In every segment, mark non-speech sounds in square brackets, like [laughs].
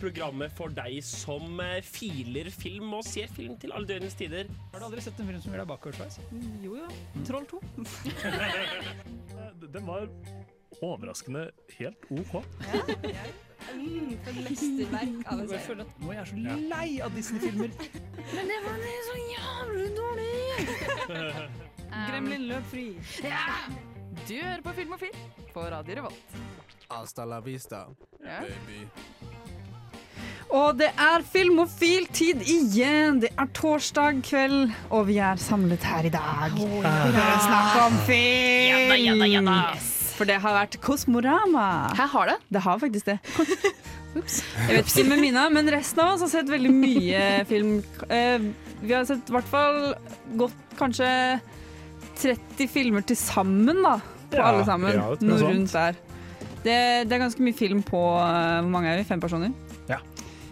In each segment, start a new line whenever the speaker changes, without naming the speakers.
programmet for deg som eh, filer film og ser film til alle døgnets tider.
Har du aldri sett en film som gjør deg Mm. bakoversveis?
Mm,
Jo jo. Troll 2.
[laughs] Den var overraskende helt OK.
Mm, for et mesterverk av en
Jeg
serie.
føler at nå er jeg så lei av Disney-filmer.
Men det var så jævlig dårlig! Gremlin løp fri.
Du hører på Filmofil på Radio Revolt.
Hasta la vista,
Ja.
baby.
Og det er filmofil-tid igjen! Det er torsdag kveld, og vi er samlet her i dag for å snakke om film. For det har vært Kosmorama.
Her har det.
Det har faktisk det. Ups. Jeg vet ikke med Mina, men resten av oss har sett veldig mye film. Eh, Vi har sett i hvert fall godt kanskje 30 filmer til sammen, da. På
Ja,
alle sammen.
ja, det tror jeg
Noe
sant.
rundt der. Det, det er ganske mye film på eh, Hvor mange er vi? Fem personer?
Ja.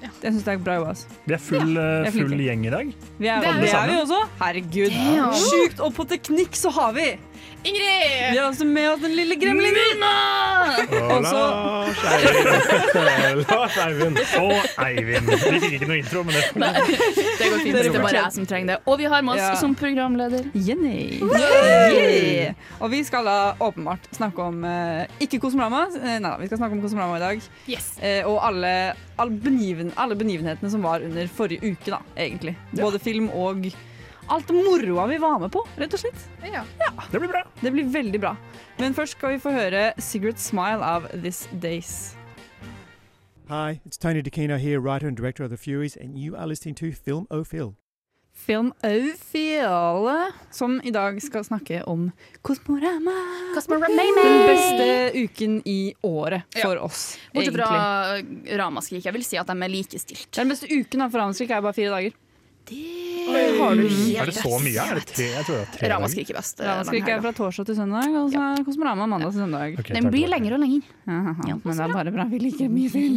Jeg syns det er bra jobba. ass.
[laughs] Vi er full, eh,
jeg
full
flinke.
gjeng i dag.
Vi er,
Det er
og
vi
det er
sammen.
vi også. Herregud.
Damn.
Sjukt! Og på teknikk så har vi Vi
Ingrid!
har også med oss den lille gremlingen.
Og
så-
Lars
[laughs]
Eivind. Lars Eivind. Og Eivind. Vi fikk ikke noe intro, men det
Det går fint. Det er bare jeg som trenger det. Og vi har med oss
Ja.
som programleder.
Jenny. Yeah. Og vi skal da åpenbart snakke om eh, ikke Kosmorama. eh, Nei da, vi skal snakke om Kosmorama i dag.
Yes.
eh, og alle, all beniven, alle benivenhetene som var under forrige uke, da, egentlig. Både film og alt moroa vi var med på, rett og slett.
Ja.
Det blir bra.
Det blir veldig bra. Men først skal vi få høre 'Secret Smile' av This Days.
Hi, it's Tony DeCino here, writer and director of The Furies, and you are listening to Film O Phil.
Film Aufiale, som i dag skal snakke om Kosmorama. Den beste uken i året for oss,
Bortsett
egentlig.
fra Ramaskrik. Jeg vil si at de er likestilt.
Det er den beste uken da, for Hamskrik er bare fire dager.
Er det så mye? Er det tre? Jeg tror det er tre
Ramaskrik er best. eh,
Ramaskrik
denne
er
helga.
fra torsdag til søndag, og så er Kosmorama mandag til søndag.
dager. Ok,
Den
tar
blir
det.
lenger og lenger.
Jaha,
Ja,
men det er bare bra. Vi liker
[laughs]
mye film.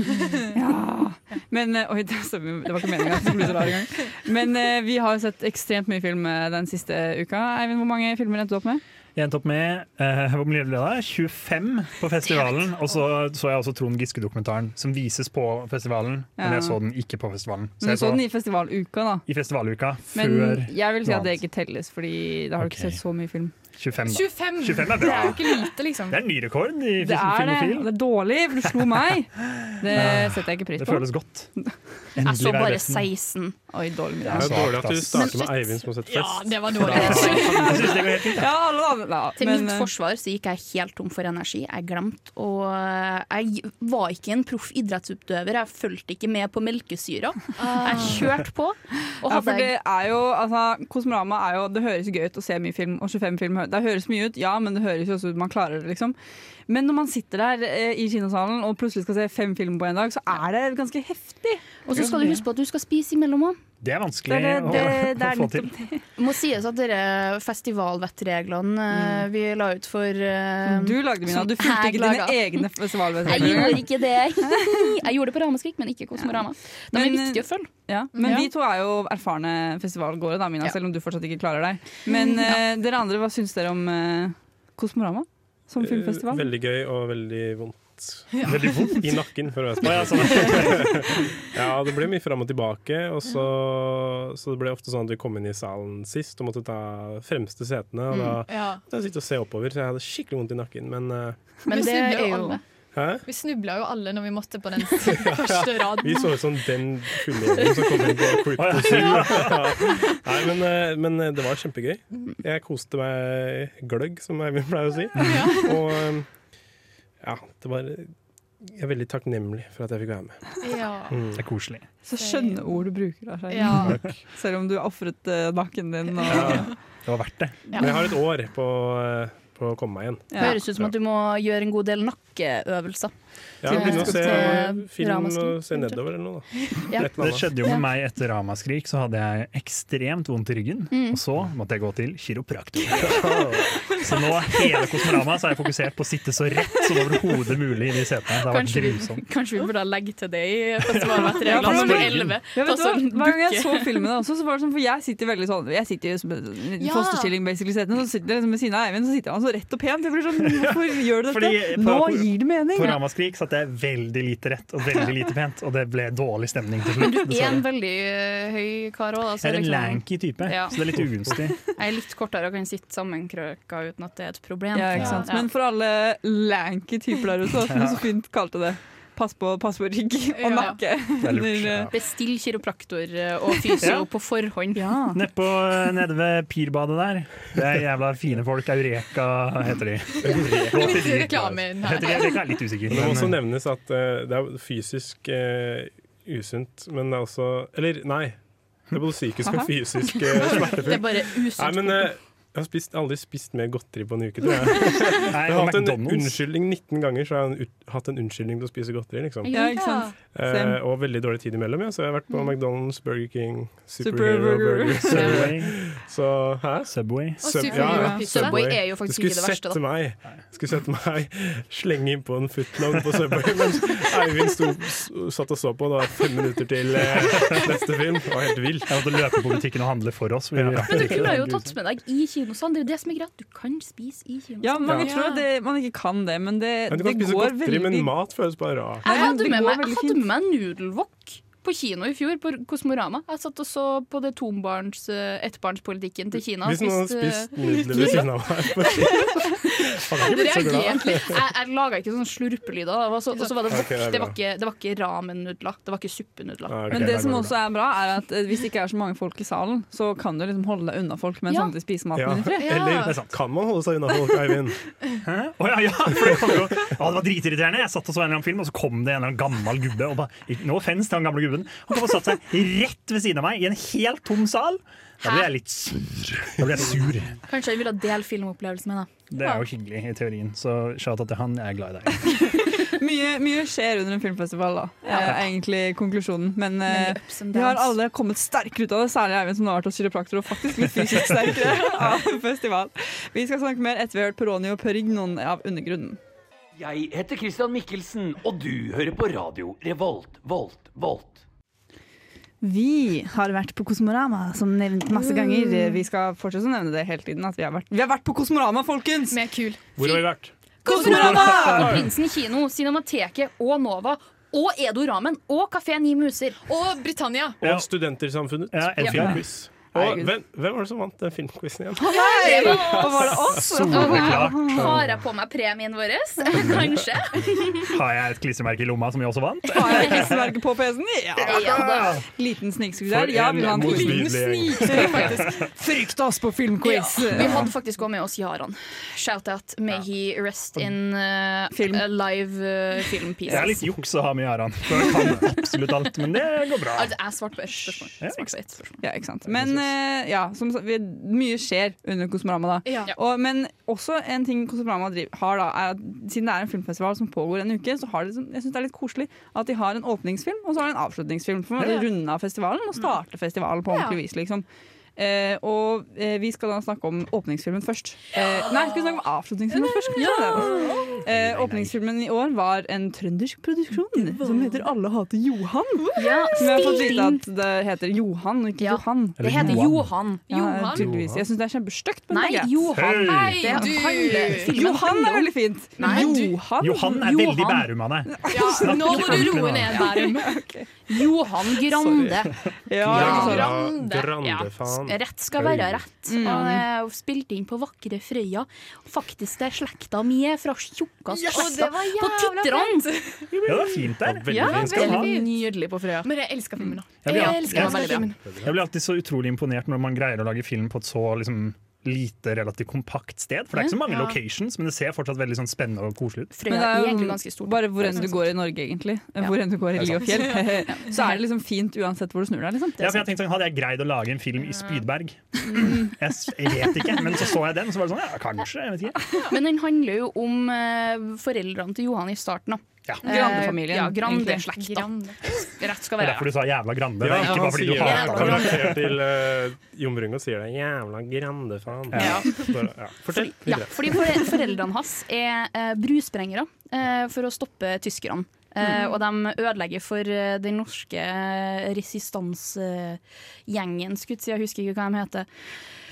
Ja. Men eh, Oi, det, stemmer. det var ikke meninga at det skulle bli så rar engang. Men eh, vi har sett ekstremt mye film eh, den siste uka. Eivind, hvor mange filmer endte du opp med?
Jeg endte opp med eh, hvor mye ble det? 25 på festivalen. Og så så jeg også Trond Giske-dokumentaren, som vises på festivalen. Men
Ja.
jeg så den ikke på festivalen. Så
Men
jeg
du så den i festivaluka, da.
i festivaluka
Men
før
jeg vil si
noe
at det
annet.
ikke telles, Fordi da har du
Ok.
ikke sett så mye film.
25. da.
25!
25 er
Det
bra.
er jo ikke lite, liksom.
Det er en ny rekord i
Det er det, og
Filmofil.
det er dårlig, for du slo meg. Det setter jeg ikke pris
Det
på.
føles godt.
Jeg så
Endelig være
bare
resten.
16.
Oi, dårlig middag.
Ja,
Det er dårlig at du
ass.
starter med
Men-
Eivind som har sett fest.
det var dårlig.
Jeg synes det går helt fint.
Ja, alle andre, da.
Til
Men,
mitt
eh,
forsvar så gikk jeg helt tom for energi. Jeg glemte og Jeg var ikke en proff idrettsutøver. Jeg fulgte ikke med på melkesyra. Jeg kjørte på. Og
Ja, for
hadde
det er jo, altså, Kosmorama er jo Det høres jo gøy ut å se mye film, og 25 film hø- Det høres mye ut, ja, men det høres jo også ut man klarer det, liksom. Men når man sitter der eh, i kinosalen og plutselig skal se fem film på en dag, så er det ganske heftig.
Og så skal du huske på at du skal spise imellom òg.
Det er vanskelig
Det er det- det-
å, [laughs]
det er
å få til.
Må sies at dere festivalvettreglene eh, vi la ut for eh,
Du lagde mine,
som
du fulgte
jeg
ikke dine
laga. Jeg
egne
gjorde
festivalvedtak.
ikke det. Jeg gjorde det på Ramaskrik, men ikke Kosmorama. De er
Men,
viktige å følge.
Ja. Men
Ja.
vi to er jo erfarne festivalgåere, da, Mina,
Ja. Mm.
selv om du fortsatt ikke klarer deg. Men eh, dere andre, hva syns dere om eh, Kosmorama som
Eh,
filmfestival?
Veldig gøy og veldig vondt.
Veldig vondt.
I nakken, for å være
Å, ja,
snill.
sånn.
sånn.
[laughs] Ja, det ble mye fram og tilbake, og så, så det ble ofte sånn at vi kom inn i salen sist og måtte ta fremste setene. Og
Mm.
da måtte jeg sitte og se oppover, så jeg hadde skikkelig vondt i nakken, men eh,
Men
Vi
det
snubler
er
jo
jo
alle.
Hæ?
Vi snubla jo alle når vi måtte på den første
Vi
raden.
så ut som den fullgjengen som kom inn på Crypto Zoo. [laughs] Ja. Nei, men, eh, men det var kjempegøy. Jeg koste meg gløgg, som Eivind pleier å si. Og eh, ja, det var Jeg er veldig takknemlig for at jeg fikk være med.
[laughs] Ja.
Mm.
Det er koselig.
Så skjønne ord du bruker, Lars. Eivind.
ja.
Selv om du ofret eh, nakken din. Og,
Det var verdt det.
Men jeg har et år på, eh, på å komme meg igjen.
ja.
Høres ut som at du må gjøre en god del nakkeøvelser.
Ja, Begynne å se
Til
film og
ramaskrik,
se nedover eller noe, da.
Ja.
Et eller
Det
annet.
skjedde jo med meg etter Ramaskrik,
Mm.
så hadde jeg ekstremt vondt i ryggen. Og så måtte jeg gå til kiropraktor. Så nå hele Kosmorama så er jeg fokusert på å sitte så rett som overhodet mulig inn i setene. Det har vært
Kanskje vi,
grusomt.
[laughs] kanskje vi burde legge til det i
Ja, for
festivalmaterialet nummer
det-
11. Ta
Ja, vet du, hva?
sånn
hver gang jeg
bukke.
så filmene også, så var det sånn, for jeg sitter veldig sånn Jeg sitter jo som en liten
Ja.
fosterstilling basically i setene, så sitter jeg liksom ved siden av Eivind, så sitter han så rett og pent. Jeg blir
[laughs]
sånn, hvorfor gjør du dette?
Fordi på-
Nå
på-
gir det mening!
På Ramaskrik satt jeg veldig lite rett og veldig lite pent, og det ble dårlig stemning til
[laughs]
slutt.
Jeg er en
dessverre.
veldig eh, høy kar òg.
Jeg er en lanky type,
liksom. Ja.
så det er litt ugunstig.
Jeg er litt kortere og kan sitte sammenkrøka uten at det er et problem.
Ja, ikke sant?
Ja.
Men for alle lanky typer der ute, som du så fint kalte det. Pass på, pass på rygg
Ja.
og nakke.
Det er lurt. Ja.
Bestill kiropraktor eh, og fysio
Ja.
på forhånd. [laughs]
Nede, på, nede ved Pirbadet der. Det er jævla fine folk. Eureka heter de. Gå til de.
Reklamen
Heter
her.
de Eureka? Jeg er litt usikker.
Men det må også
men-
nevnes at eh, det er fysisk eh, usunt, men det er også Eller nei, det er både psykisk og fysisk eh,
Det er
smertefullt.
bare
Nei,
usunt.
men eh, jeg har spist, aldri spist mer godteri på en uke, tror jeg.
Nei,
Jeg har
og
hatt en
McDonald's.
unnskyldning 19 ganger, så jeg har en ut- hatt en unnskyldning til å spise godteri, liksom.
Ja, ikke sant?
Eh,
Same.
og veldig dårlig tid imellom, ja. så jeg har vært på McDonald's, Burger King, Superhero
Superburger.
Burger.
Subway.
Så hæ?
Subway.
Og
Sub-
Superhero Pizza.
Subway er jo
Du
faktisk
skulle
ikke det
sett
verste. Da.
meg Du skulle sett meg [laughs] slenge innpå en footlong på Subway [laughs] mens Eivind sto, s- satt og så på. Det var fem minutter til eh, neste film. Det var helt vilt.
Jeg måtte løpe på butikken og handle for oss.
Ja.
Men du kunne jo tatt med deg i kinosalen. Det er jo det som er greit. Du kan spise i kinosalen.
Ja, mange
Ja.
tror at det, man ikke kan det, men det,
Men du
det
kan spise
går
godteri, men
veldig
mat føles bare rart.
Jeg
Nei, men
hadde
det
med
går
meg,
veldig
jeg hadde
fint.
med meg nudelwok på kino i fjor, på Kosmorama. Jeg satt og så på det tombarns, eh, ettbarnspolitikken til Kina.
Hvis noen hadde
Spiste-
spist nudler ved siden av meg på [laughs]
[laughs] Jeg hadde
så glad.
reagert litt. Jeg, jeg laga ikke sånne slurpelyder. da. Det var så- Og så var det wok.
Ok, det er
Det var
bra.
ikke, det var ikke ramen-nudler. Det var ikke suppenudler.
Ah, ok,
Men
der
det som
går
også er bra, er at eh, hvis det ikke er så mange folk i salen, så kan du liksom holde deg unna folk, men
Ja.
samtidig spise
bra.
maten
ja.
din i fred.
Eller kan man holde seg unna folk, Eivind?
Å ja, ja, for det, kom jo, ja, det var dritirriterende. Jeg satt og så en eller annen film, og så kom det en eller annen gammel gubbe. Og bare, ikke noe offense til han gamle gubben. Han kom og satte seg rett ved siden av meg i en helt tom sal. Da ble jeg litt sur. Da ble jeg sur.
Kanskje jeg ville dele filmopplevelsen med deg.
Det er jo hyggelig i teorien, så shout-out til han. Jeg er glad i deg.
Mye, mye skjer under en filmfestival, da. Er egentlig konklusjonen. Men eh,
Ups and
vi har
downs.
alle kommet sterkere ut av det, særlig Eivind som nå har vært hos kiropraktor og faktisk blitt fysisk [laughs] sterkere av en festival. Vi skal snakke mer etter vi har hørt Peroni og Pørignon av Undergrunnen.
Jeg heter Christian Mikkelsen, og du hører på radio Revolt, Volt, Volt.
Vi har vært på Kosmorama, som nevnt masse ganger. Mm. Vi skal fortsette å nevne det hele tiden. At vi, har vært, vi har vært på Kosmorama, folkens!
Med kul.
Hvor har vi vært?
[laughs]
Og Prinsen kino, Cinemateket og Nova. Og Edo Ramen og Kafeen Ni Muser.
Og Britannia.
Og
Ja.
Studentersamfunnet.
Ja,
og
elsker det.
filmquiz. Og hvem, hvem var det som vant den filmquizen igjen?
Og var det oss?
Soleklart
Har jeg på meg premien vår? [laughs] Kanskje.
har jeg et klistremerke i lomma som vi også vant.
Har jeg hesteverket på PC-en? Ja.
Ja, da.
Liten sniksugg der. Ja, vi vant.
motbydelig gjeng. [laughs]
Frykt oss på filmquiz!
Vi hadde faktisk òg med oss Jaran. Shout-out. May he rest in uh,
Film.
a live uh, film
Det er
pieces.
litt juks å ha med Aran. For jeg kan absolutt alt, men det går bra.
Altså, jeg svarte på ett spørsmål. Jeg svarte på ett spørsmål.
Ja, ikke sant. Men eh, ja, som, sagt, vi, mye skjer under Kosmorama, da.
Ja.
Og, men også en ting Kosmorama driver, har, da, er at siden det er en filmfestival som pågår en uke, så har de, sånn- jeg synes det er litt koselig at de har en åpningsfilm og så har de en avslutningsfilm. For å runde av festivalen og starte festivalen på ordentlig vis, liksom. Eh, og eh, vi skal da snakke om åpningsfilmen først. Eh, nei, skal vi snakke om avslutningsfilmen først? kanskje? Eh, åpningsfilmen i år var en trøndersk produksjon som heter 'Alle hater Johan'.
Ja,
Men jeg har fått vite at det heter Johan, og ikke
Ja.
Johan.
Det heter Johan.
Ja, tydeligvis. Jeg syns det er kjempestygt. men
Nei,
det er greit.
Johan.
Hei,
du.
Det handler filmen
Johan
handler
er
om.
veldig fint. Men
Nei, du-
Johan?
Johan er
Johan.
veldig Bærum av deg.
Ja, nå må du roe ned, Bærum.
[laughs] Johan Grande.
Ja, ikke sant?
Ja,
Grande.
Ja.
Grande, faen.
Rett skal være rett. Han er spilt inn på vakre Frøya. Faktisk der slekta mi er fra Tjukkast.
Yes! Og det
slekta.
var jævla
på Titran!
Ja, det var fint der.
Veldig
Ja,
fin
skal
veldig
han ha.
nydelig på Frøya.
Men jeg elsker filmen nå.
Jeg blir,
Jeg
alltid,
elsker den veldig bra.
jeg blir alltid så utrolig imponert når man greier å lage film på et så liksom, lite, relativt kompakt sted. For det er ikke så mange locations, men det ser fortsatt veldig sånn spennende og koselig ut.
Men
Frøya
det
er
er
egentlig ganske
jo
stort.
bare hvor enn du går i Norge, egentlig. Hvor enn du går i li og fjell. [laughs] Så er det liksom fint uansett hvor du snur deg. liksom
Ja, for jeg tenkte sånn, Hadde jeg greid å lage en film i Spydberg? Jeg s- jeg vet ikke, men så så jeg den, og så var det sånn ja, kanskje. jeg vet ikke
Men den handler jo om eh, foreldrene til Johan i starten. da. Eh,
Grandefamilien,
Ja,
egentlig.
Grande-slekt, da. Rett skal
Det er
være.
derfor du sa jævla Grande.
Ja,
det er ikke bare fordi du
han
hater
sier-
Grande.
karakter til uh, Jon Brungo sier det. Jævla grande, faen.
Ja.
Bare, ja. Fortell.
Ja,
videre.
fordi fore- foreldrene hans er eh, brusprengere eh, for å stoppe tyskerne. Eh,
Mm.
Og de ødelegger for eh, den norske eh, resistansegjengen, skulle jeg si. Jeg husker ikke hva de heter.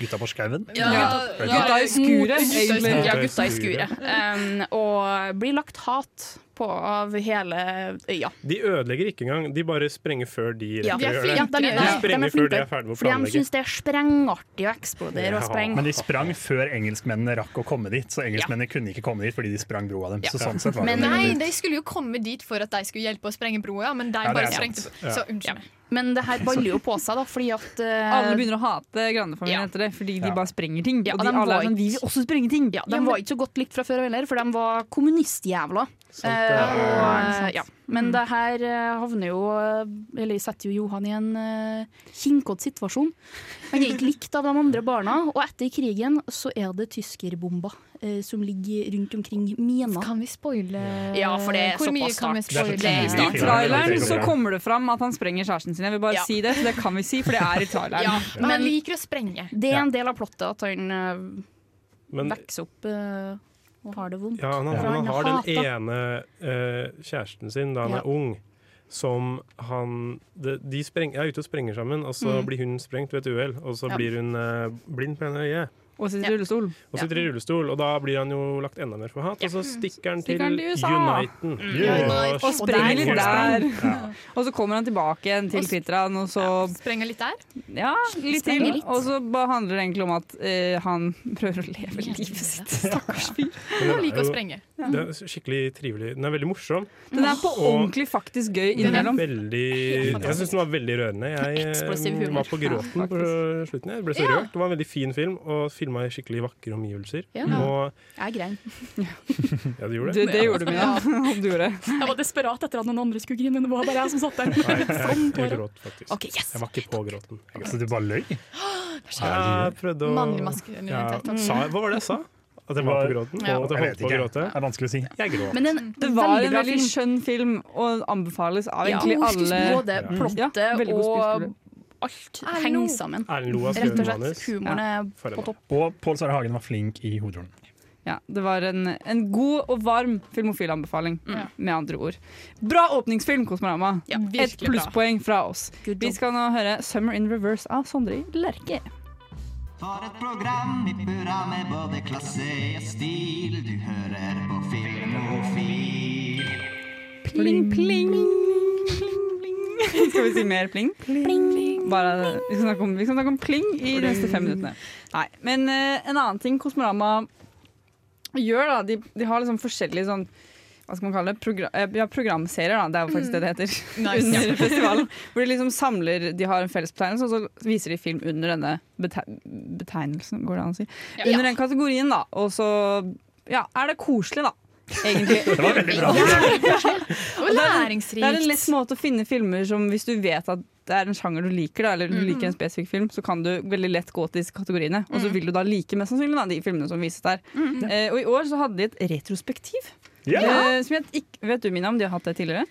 Gutta på skauen?
Ja,
Gutta-
Gutta i skuret, egentlig.
Ja, gutta i skuret. Um, og blir lagt hat på av hele øya.
De ødelegger ikke engang, de bare sprenger før de rekker
Ja,
å gjøre
ja,
det.
de gjør det.
sprenger
er
før de
flinke.
er ferdig med å
Fordi de
planlegge.
syns det er sprengartig å eksplodere og sprenge.
Men de sprang før engelskmennene rakk å komme dit, så engelskmennene kunne ikke komme dit fordi de sprang broa dem. Så sånn sett var det
Men
jo
nei,
veldig-
de skulle jo komme dit for at de skulle hjelpe å sprenge broa, men de
Ja, det
bare
er
sprengte.
sant. Ja.
Så unnskyld meg.
Men det her baller jo på seg, da, fordi [laughs] at eh,
Alle begynner å hate Grande-familien etter det, fordi de
Ja.
bare sprenger ting.
Ja,
og de
de
alle
var
er sånn, vi vil også sprenge ting.
Ja, de var ikke så godt likt fra før heller, for de var kommunistjævla.
Sant,
Eh,
ja.
og,
Sant.
ja. Men det her eh, havner jo eh, Eller setter jo Johan i en uh, kinkete situasjon. Han er ikke likt av de andre barna, og etter krigen så er det tyskerbomber eh, som ligger rundt omkring mina. Kan
vi spoile
Ja, for det er
Hvor mye
såpass
kan vi
start.
spoile?
Det er
I
start.
traileren så kommer det fram at han sprenger kjæresten sin. Jeg vil bare
Ja.
si det, for det kan vi si, for det er i traileren.
Ja,
Men han
men
liker å sprenge.
det er en del av plottet at han eh,
Men
vokser opp eh, og har det vondt.
Ja, han,
For
han, har den
hater-
ene eh, kjæresten sin da han
Ja.
er ung, som han De, de spreng, er ute og sprenger sammen, og så
Mm.
blir hun sprengt ved et uhell, og så
Ja.
blir hun eh, blind på ene øyet.
Og sitter i rullestol.
Og sitter i rullestol, og da blir han jo lagt enda mer for hat. Og så stikker han til
Stikker han til USA. Mm.
Uniten.
Og sprenger litt der. Og så kommer han tilbake igjen til Fitran, og så
Sprenger litt der.
Ja, litt til.
Sprenger litt.
Og så bare handler det egentlig om at eh, han prøver å leve livet sitt. Stakkars fyr.
Men den er jo-
Ja.
Det er skikkelig trivelig. Den er veldig morsom.
Den er på
Og-
ordentlig faktisk gøy
Den er
innimellom.
veldig, jeg syns den var veldig rørende.
Eksplosiv
Jeg eh,
humor.
var på gråten
Ja,
på slutten. Jeg ble så
Ja.
rørt. Det var en veldig fin film, og filma i skikkelig vakre omgivelser.
Ja.
Og
Jeg er grein.
ja, du gjorde
Det,
det.
det gjorde du, [laughs] Mina. Du gjorde.
Jeg var desperat etter at noen andre skulle grine. men Det var bare jeg som satt der. Sånn
Nei, jeg, jeg
tårer.
gråt faktisk.
Ok, yes.
Jeg var ikke på gråten.
Så du bare løy?
Jeg prøvde å
Mannlig maskulinitet,
Ja,
takk.
sa, hva var det jeg sa? At jeg var på gråten?
Ja.
Og at jeg
Jeg
holdt
vet
på å
ikke.
gråte?
Det er vanskelig å si.
Jeg gråt.
Men en
Det var
veldig
en
bra
veldig
film.
skjønn film, og anbefales av
Ja,
egentlig
god
alle.
skuespill, både plottet
veldig god
og
skuespiller.
alt henger sammen.
Erlend Loe har
Rett og
skrevet
slett
manus.
humoren er
For en
på
mann.
topp.
Og Pål Sverre Hagen var flink i hovedrollen.
Ja, det var en, en god og varm filmofilanbefaling, med andre ord. Bra åpningsfilm, Kosmorama. Et
virkelig bra.
plusspoeng fra oss.
Good
Vi
job.
skal nå høre 'Summer in Reverse' av Sondre Lerche.
For et program i hurra med både klasse og stil. Du hører på Filmofil.
Pling, pling. Skal vi si mer pling? Bare, vi, skal snakke om, vi skal snakke om pling i de neste fem minuttene. Nei, men eh, en annen ting Kosmorama gjør, da De, de har liksom forskjellige sånn hva skal man kalle det? Progra eh, ja, programserier, da. Det er jo faktisk det det heter.
Mm. Nice.
[laughs] under festivalen. Hvor de liksom samler De har en fellesbetegnelse, og så viser de film under denne bete betegnelsen, går det an å si.
Ja.
Under den kategorien, da. Og så ja, er det koselig, da. Egentlig.
Det var veldig bra. Og
det er-
læringsrikt.
Det er en lett måte å finne filmer som hvis du vet at det er en sjanger du liker, da, eller du
Mm.
liker en spesifikk film, så kan du veldig lett gå til disse kategoriene. Og
Mm.
så vil du da like mest sannsynlig da, de filmene som vises der. Eh, og i år så hadde de et retrospektiv.
Ja.
Eh, som jeg ikke, vet du, Mina, om de har hatt det tidligere?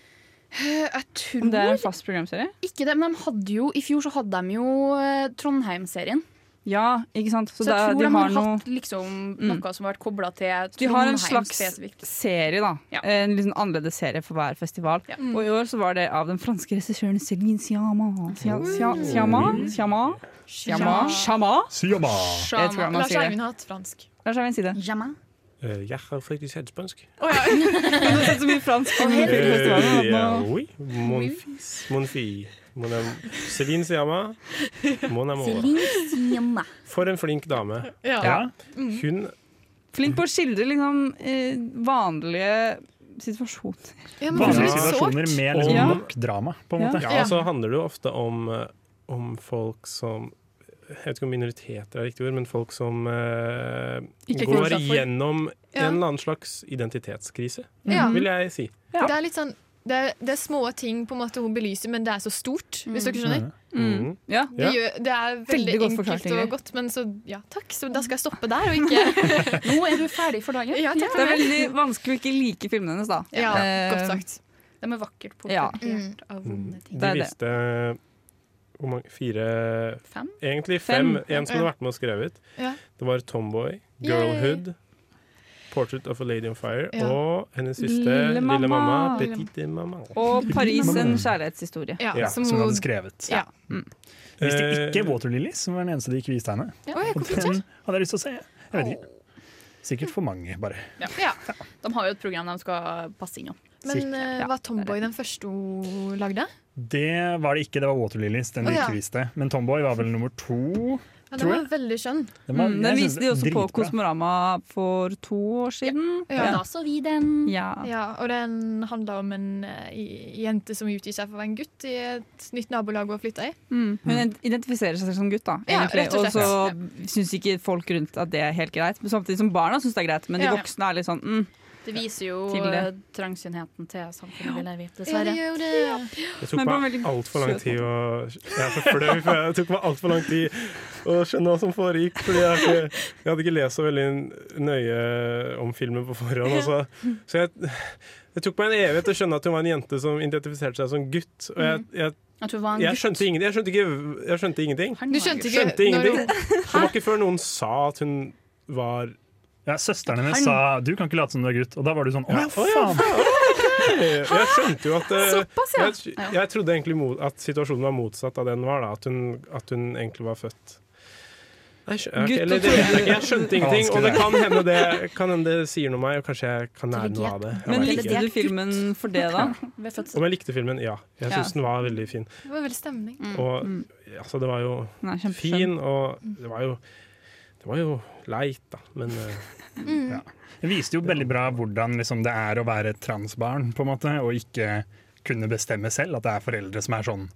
Jeg tror
Om det er en fast programserie?
Ikke det, men de hadde jo, i fjor så hadde de jo eh, Trondheim-serien.
Ja, ikke sant?
Så,
da-
jeg tror de, har
noe-
hatt liksom
Mm.
noe som har vært kobla til
De har en
Trondheim
slags
spesifikt.
serie, da. En litt sånn annerledes serie for hver festival. Og i år så var det av den franske regissøren Céline Siama. Sia- Sia- Siama? Siama? Siama? Siama?
Siama.
Jeg tror jeg må
Lars
si det.
Eivind har hatt fransk.
Lars Eivind, si det.
Eh, Jeg har faktisk helt spansk.
Hun har sett så mye fransk.
[laughs]
på
Eh,
filmfestivalen at
ja,
nå-
oui. Mon fils, mon fille. Mon am Céline Siama. Mon amour.
Siama.
For en flink dame.
Ja.
Hun
Flink på å skildre liksom, eh, vanlige situasjoner.
Vanlige situasjoner med liksom
Ja.
nok drama, på en måte.
Ja, og så handler det jo ofte om, eh, om folk som jeg vet ikke om minoriteter er riktig ord, men folk som eh,
Ikke
går
føler seg for-
gjennom
Ja.
en eller annen slags identitetskrise,
Ja.
vil jeg si.
Det er litt sånn det er, det er små ting på en måte hun belyser, men det er så stort. Hvis dere skjønner
Mm.
Mm. Ja.
Det, gjør, det er veldig,
Veldig godt forklart,
enkelt
Ingrid.
og godt, men så ja, takk. Så da skal jeg stoppe der og ikke
[laughs] Nå er du ferdig for dagen.
Ja, takk
Det er
for
veldig
meg.
vanskelig å ikke like filmene hennes, da.
Ja,
Eh,
godt sagt.
De er vakkert
Ja. Mm.
portrettert av vonde ting.
Det
De
er det.
viste hvor mange? Fire
Fem?
Egentlig fem.
Fem.
En som
Ja.
hadde vært med og skrevet.
Ja.
Det var Tomboy,
Yay.
Girlhood, Portrait of a Lady on Fire
Ja.
og hennes siste
Lille
Lille
mamma.
Mamma,
Lille-
Petite Mamma.
Og Paris en kjærlighetshistorie.
Ja,
Ja, som hun hadde skrevet. Eh,
Ja.
Hvis det
Eh,
ikke er Water Lilies, som var den eneste de ikke viste henne.
Ja. Oi,
Og
hvorfor
den
ikke?
hadde jeg lyst til å se. Jeg vet ikke. Sikkert for mange, bare.
Ja. ja. De har jo et program de skal passe innom.
Men eh, var Tomboy den første hun lagde?
Det var det ikke, det var Water Lilies, den de
Å, ja.
ikke viste. Men Tomboy var vel nummer to,
Ja, den
tror
var
jeg.
veldig skjønn.
Den var-
Mm,
jeg
den
synes
viste de også på
dritbra.
Kosmorama for to år siden.
Ja. Ja, da
så vi den.
Ja.
Ja, og den handla om en eh, i- jente som utgir seg for å være en gutt i et nytt nabolag hun flytta i.
Mm. Hun identifiserer seg som gutt, da.
Ja,
Egentlig.
rett og
og
slett.
så syns ikke folk rundt at det er helt greit. Men samtidig som barna syns det er greit, men de
Ja.
voksne er litt sånn mm.
Det viser jo
Til det.
eh, trangsynheten til samfunnet vi lever i,
Ja,
dessverre.
det gjør det.
Det tok
Men på en
meg
veldig
altfor lang
søt
tid å Jeg er så flau, for jeg- det tok meg altfor lang tid å skjønne hva som foregikk. Fordi jeg, ikke, jeg hadde ikke lest så veldig nøye om filmen på forhånd. Og så så jeg, det tok meg en evighet å skjønne at hun var en jente som identifiserte seg som gutt. Og jeg, jeg,
At hun var Mm. en
jeg,
gutt.
skjønte, ingen, jeg, skjønte, ikke, jeg skjønte ingenting.
Du skjønte ikke
Skjønte
når
ingenting.
hun-
Det var ikke før noen sa at hun var
Ja, Søsteren hennes sa 'du kan ikke late som du er gutt', og da var du sånn 'å ja,
Å, ja,
faen'.
Jeg jeg skjønte jo at eh,
Såpass, ja.
jeg, jeg trodde egentlig mo- at situasjonen var motsatt av den var, da. At hun, at hun egentlig var født Nei, skjø- ok,
Gutt og
eller det vet jeg
tøyde.
ikke. Jeg skjønte ingenting, og det
Vanskelig,
kan hende det, kan hende det sier noe om meg, og kanskje jeg kan lære noe av det. Jeg
Men
vet
likte
ikke.
du filmen for det, da?
Ved
Om jeg likte filmen? Ja. Jeg syns
Ja.
den var veldig fin.
Det var veldig stemning.
Mm.
Og altså, det var jo
Nei, kjempeskjønn. Mm.
fin, og det var jo Det var jo leit, da, men eh,
Mm.
Ja. Det viste jo veldig bra hvordan liksom, det er å være et transbarn, på en måte, og ikke kunne bestemme selv. At det er foreldre som er sånn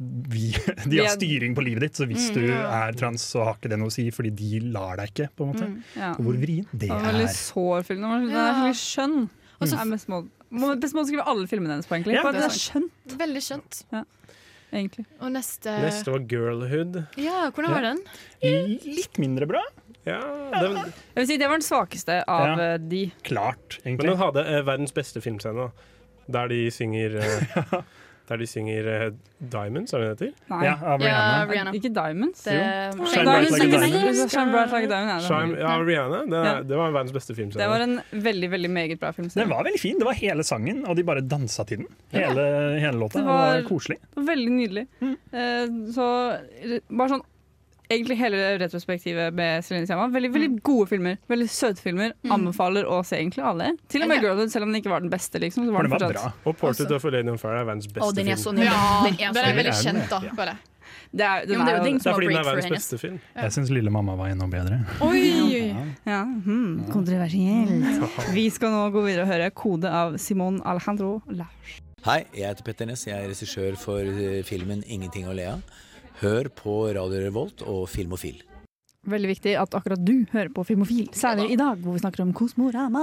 vi, [laughs] De
Vi er-
har styring på livet ditt, så hvis
Mm,
du
ja.
er trans, så har ikke det noe å si, fordi de lar deg ikke, på en måte.
Mm, ja.
Og hvor vrient det
var en
er.
veldig sår film. Den var- Den er
Ja.
veldig skjønn.
Og så-
Det er Bestemål må- bestemål skriver alle filmene hennes på, egentlig.
Ja,
Bare
det er
den er skjønn,
Veldig skjønt.
egentlig.
Og
Eh.
neste
neste var 'Girlhood'.
Ja, hvordan var den?
Litt mindre bra.
Ja, det,
Jeg vil si det var den svakeste av
Ja.
eh, de.
Klart,
Men den hadde eh, verdens beste filmscene, da. Der de synger eh, [laughs] Der de synger eh, Diamonds, er det det heter?
Nei. Ikke Diamonds.
Det-
Jo.
Shine
Diamonds
Bright Like a
synger
Diamond.
singles, Shine Bright Like a Diamond. er det.
Shine, ja, Rihanna. Det,
Ja.
det var verdens beste filmscene.
Det var en veldig veldig meget bra film.
Den var veldig fin. Det var hele sangen, og de bare dansa til den. Hele, hele låta.
Det
Det var,
var-
koselig.
Veldig nydelig.
Mm.
Eh, så re- bare sånn Egentlig hele retrospektivet med Celine Sciamma. Veldig,
Mm.
veldig gode filmer. Veldig søte filmer.
Mm.
Anbefaler å se egentlig alle. Til og med Girlhood, selv om den ikke var den beste. Liksom, så var
For
den
den var
fortsatt.
bra. Og 'Portrait of a Lady on Fire' er verdens beste
den er
film.
så nydelig. Ja,
den er,
så
veldig
nydelig.
kjent, da.
Ja.
Bare.
Det er,
Jo, men det er jo den
Det er fordi den er verdens
hennes.
beste film.
Ja.
Jeg syns Lille mamma var enda bedre.
Oi! Ja, hmm, kontroversielt. Vi skal nå gå videre og høre 'Kode' av Simon Alejandro La.
Hei, jeg heter Petter Ness. Jeg er regissør for eh, filmen 'Ingenting å le av'. Hør på Radio Revolt og Filmofil.
Veldig viktig at akkurat du hører på Filmofil, særlig i dag hvor vi snakker om Kosmorama.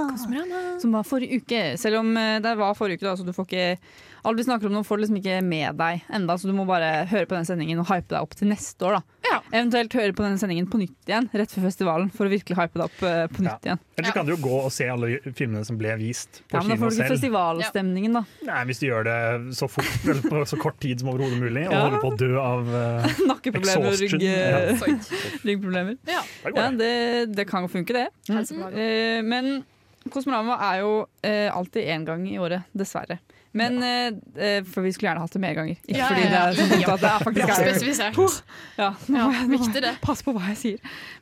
Som var forrige uke. Selv om eh, det var forrige uke, da, så du får ikke Alt vi snakker om nå, får du liksom ikke med deg enda, så du må bare høre på den sendingen og hype deg opp til neste år, da. Eventuelt høre på den sendingen på nytt igjen, rett før festivalen, for å virkelig hype deg opp eh, på nytt igjen.
Eller så kan du jo gå og se alle filmene som ble vist på
Ja, men
kino
da får du ikke
selv.
festivalstemningen, da.
Nei, Hvis du gjør det så fort [laughs] eller på så kort tid som overhodet mulig, og
Ja.
holder på å dø av
[laughs]
uh,
Nakkeproblemer og rygg, eh,
Ja.
ryggproblemer. Ja,
det går
det, det kan funke, det.
Mm.
Eh, men Kosmorama er jo eh, alltid én gang i året, dessverre. Men eh, eh, For vi skulle gjerne hatt det mer ganger. Ikke
Ja,
fordi
ja,
det
ja.
er sånn at det er faktisk
Bra
er-
spesifisert.
Puh. Ja, nå
Ja,
må jeg- nå må
viktig
jeg
det.
Pass på hva jeg sier.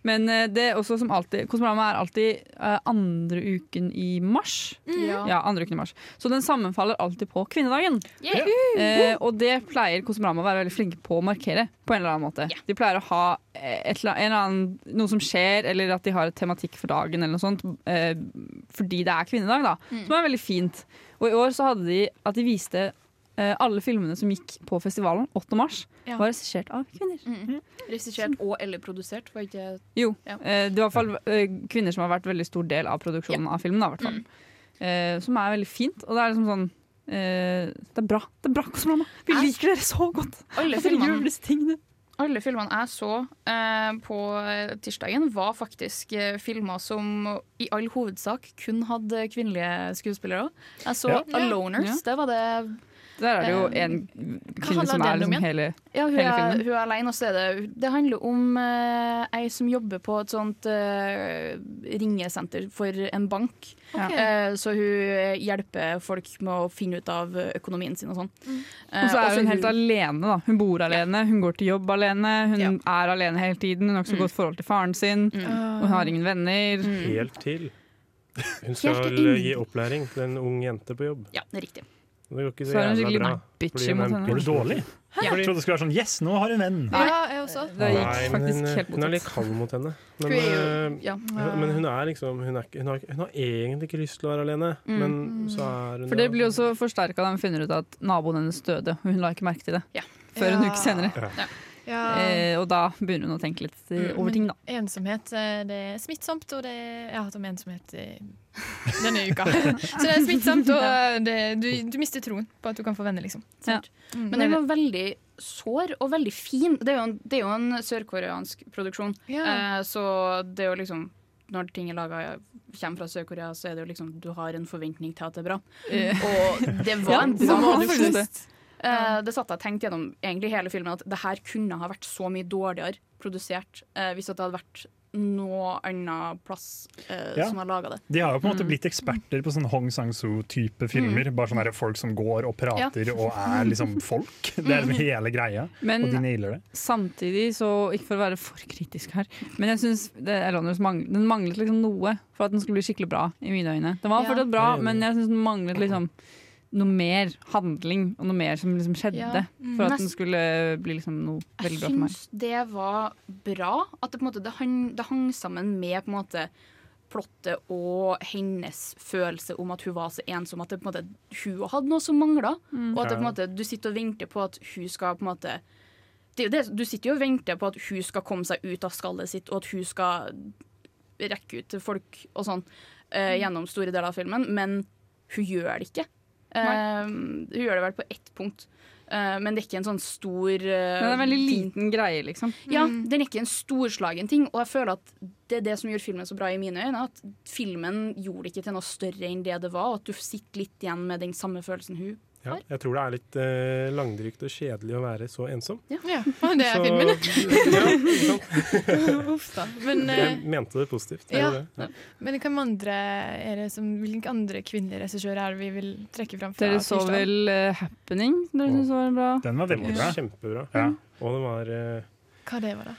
Men eh, det er også som alltid Kosmorama er alltid eh, andre uken i mars.
Mm. Ja.
Ja, andre uken i mars. Så den sammenfaller alltid på kvinnedagen.
Yeah.
Eh, og det pleier Kosmorama å være veldig flinke på å markere. På en eller annen måte De pleier å ha eh, et, eller annet- en eller annen, noe som skjer, eller at de har et tematikk for dagen, eller noe sånt. Eh, fordi det er kvinnedag, da.
Mm.
Som er veldig fint. Og i år så hadde de at de viste eh, alle filmene som gikk på festivalen 8. mars,
Ja.
var regissert av kvinner.
Mm. Regissert og eller produsert, var ikke
Jo.
Ja.
eh, det er i hvert fall eh, kvinner som har vært veldig stor del av produksjonen av filmen. Da, i hvert fall. Eh, som er veldig fint. Og det er liksom sånn eh, det er bra. Det er bra Kosmorama. Vi liker dere så godt.
Alle
Dere gjør
filmene.
disse tingene.
Alle filmene jeg så eh, på tirsdagen, var faktisk eh, filmer som i all hovedsak kun hadde kvinnelige skuespillere. Jeg så
Ja.
Aloners.
Ja.
Det var det
Der er det jo
eh,
en
hva handler
kvinne som
den
er
om
liksom
igjen?
hele,
ja, hun
hele
er,
filmen.
Hun er alene, og så er det Det handler om eh, ei som jobber på et sånt eh, ringesenter for en bank.
Ok.
Eh, så hun hjelper folk med å finne ut av økonomien sin og sånn. Eh,
Og så er
også
hun helt alene. da. Hun bor alene, hun går til jobb alene, hun er alene hele tiden. Hun har ikke så
Mm.
godt forhold til faren sin,
Ah.
og hun har ingen venner.
Helt til.
[laughs]
Hun
Mm. Helt til
skal eh,
ingen-
gi opplæring til en ung jente på jobb.
Ja, det er riktig.
Det går ikke
Så er hun
jævla
skikkelig
bra,
bitchy
fordi hun
mot
er en
henne.
bitch.
Var det dårlig?
Ja.
Jeg trodde det skulle være sånn Yes, nå har hun venn!
Ja, jeg også.
Nei, men hun, Hun er litt kald mot henne. Men,
Hun er jo-
eh,
ja.
men hun er liksom hun, er, ikke- hun, har, hun har egentlig ikke lyst til å være alene,
Mm.
men så er hun
For det blir jo også forsterka da hun finner ut at naboen hennes døde, og hun la ikke merke til det før en
Ja.
uke senere.
Ja. Ja. Mm.
Eh, og da begynner hun å tenke litt eh, over
Men
ting, da.
Ensomhet eh, det er smittsomt, og det Jeg har hatt om ensomhet
[laughs]
eh, denne uka. Så det er smittsomt, og eh, det, du, du mister troen på at du kan få venner, liksom.
Mm.
Men den var veldig sår og veldig fin. Det er jo en, det er jo en sørkoreansk produksjon,
Ja.
eh, så det er jo liksom når ting er laga kommer fra Sør-Korea, så er det jo liksom du har en forventning til at det er bra.
Eh.
Og
[laughs]
det var
Ja,
en
det
bra
var
produksjon.
faktisk
Eh, det satt jeg og tenkte gjennom egentlig hele filmen, at det her kunne ha vært så mye dårligere produsert eh, hvis at det hadde vært noe annen plass eh,
Ja.
som har laga det.
De har jo på en måte
Mm.
blitt eksperter på sånn Hong Sang-soo-type filmer. Bare sånne der folk som går og prater
Mm. Ja.
og er liksom
[laughs]
folk. Det er liksom hele greia.
Men-
og de nailer det.
Samtidig, så ikke for å være for kritisk her, men jeg syns mang den manglet liksom noe for at den skulle bli skikkelig bra, i mine øyne. Den var
Ja.
fortsatt
Jeg
bra,
er enig.
men jeg syns den manglet liksom noe mer handling, og noe mer som liksom skjedde,
Ja. Mm.
for at
Nest-
den skulle bli liksom noe
Jeg
veldig bra for meg.
syns det var bra. At det, på en måte, det, hang, det hang sammen med på en måte plottet og hennes følelse om at hun var så ensom. At det, på en måte, hun hadde noe som mangla.
Mm.
Og at det, på en
Ja.
måte, du sitter og venter på at hun skal på en måte det, er jo det, Du sitter jo og venter på at hun skal komme seg ut av skallet sitt, og at hun skal rekke ut til folk og sånn
Mm.
eh, gjennom store deler av filmen, men hun gjør det ikke. Eh, hun gjør det vel på ett punkt, eh, men det er ikke en sånn stor
Men det er en veldig liten greie, liksom.
ja, den er ikke en storslagen ting, og jeg føler at det er det som gjorde filmen så bra i mine øyne, at filmen gjorde det ikke til noe større enn det det var, og at du sitter litt igjen med den samme følelsen hun.
ja, Jeg tror det er litt eh, langdrygt og kjedelig å være så ensom.
Ja,
det er Så- filmen. [laughs] Ja,
[laughs] Uff da. Men,
Jeg
eh,
mente det positivt. Jeg
ja.
gjorde det.
Men hvem andre er det som, hvilke andre kvinnelige regissører er det vi vil trekke fram fra
Dere så
tirsdagen?
vel eh, 'Happening'? Dere synes var bra.
Den var veldig
Den
bra.
var kjempebra. Og den var eh,
Hva det var da?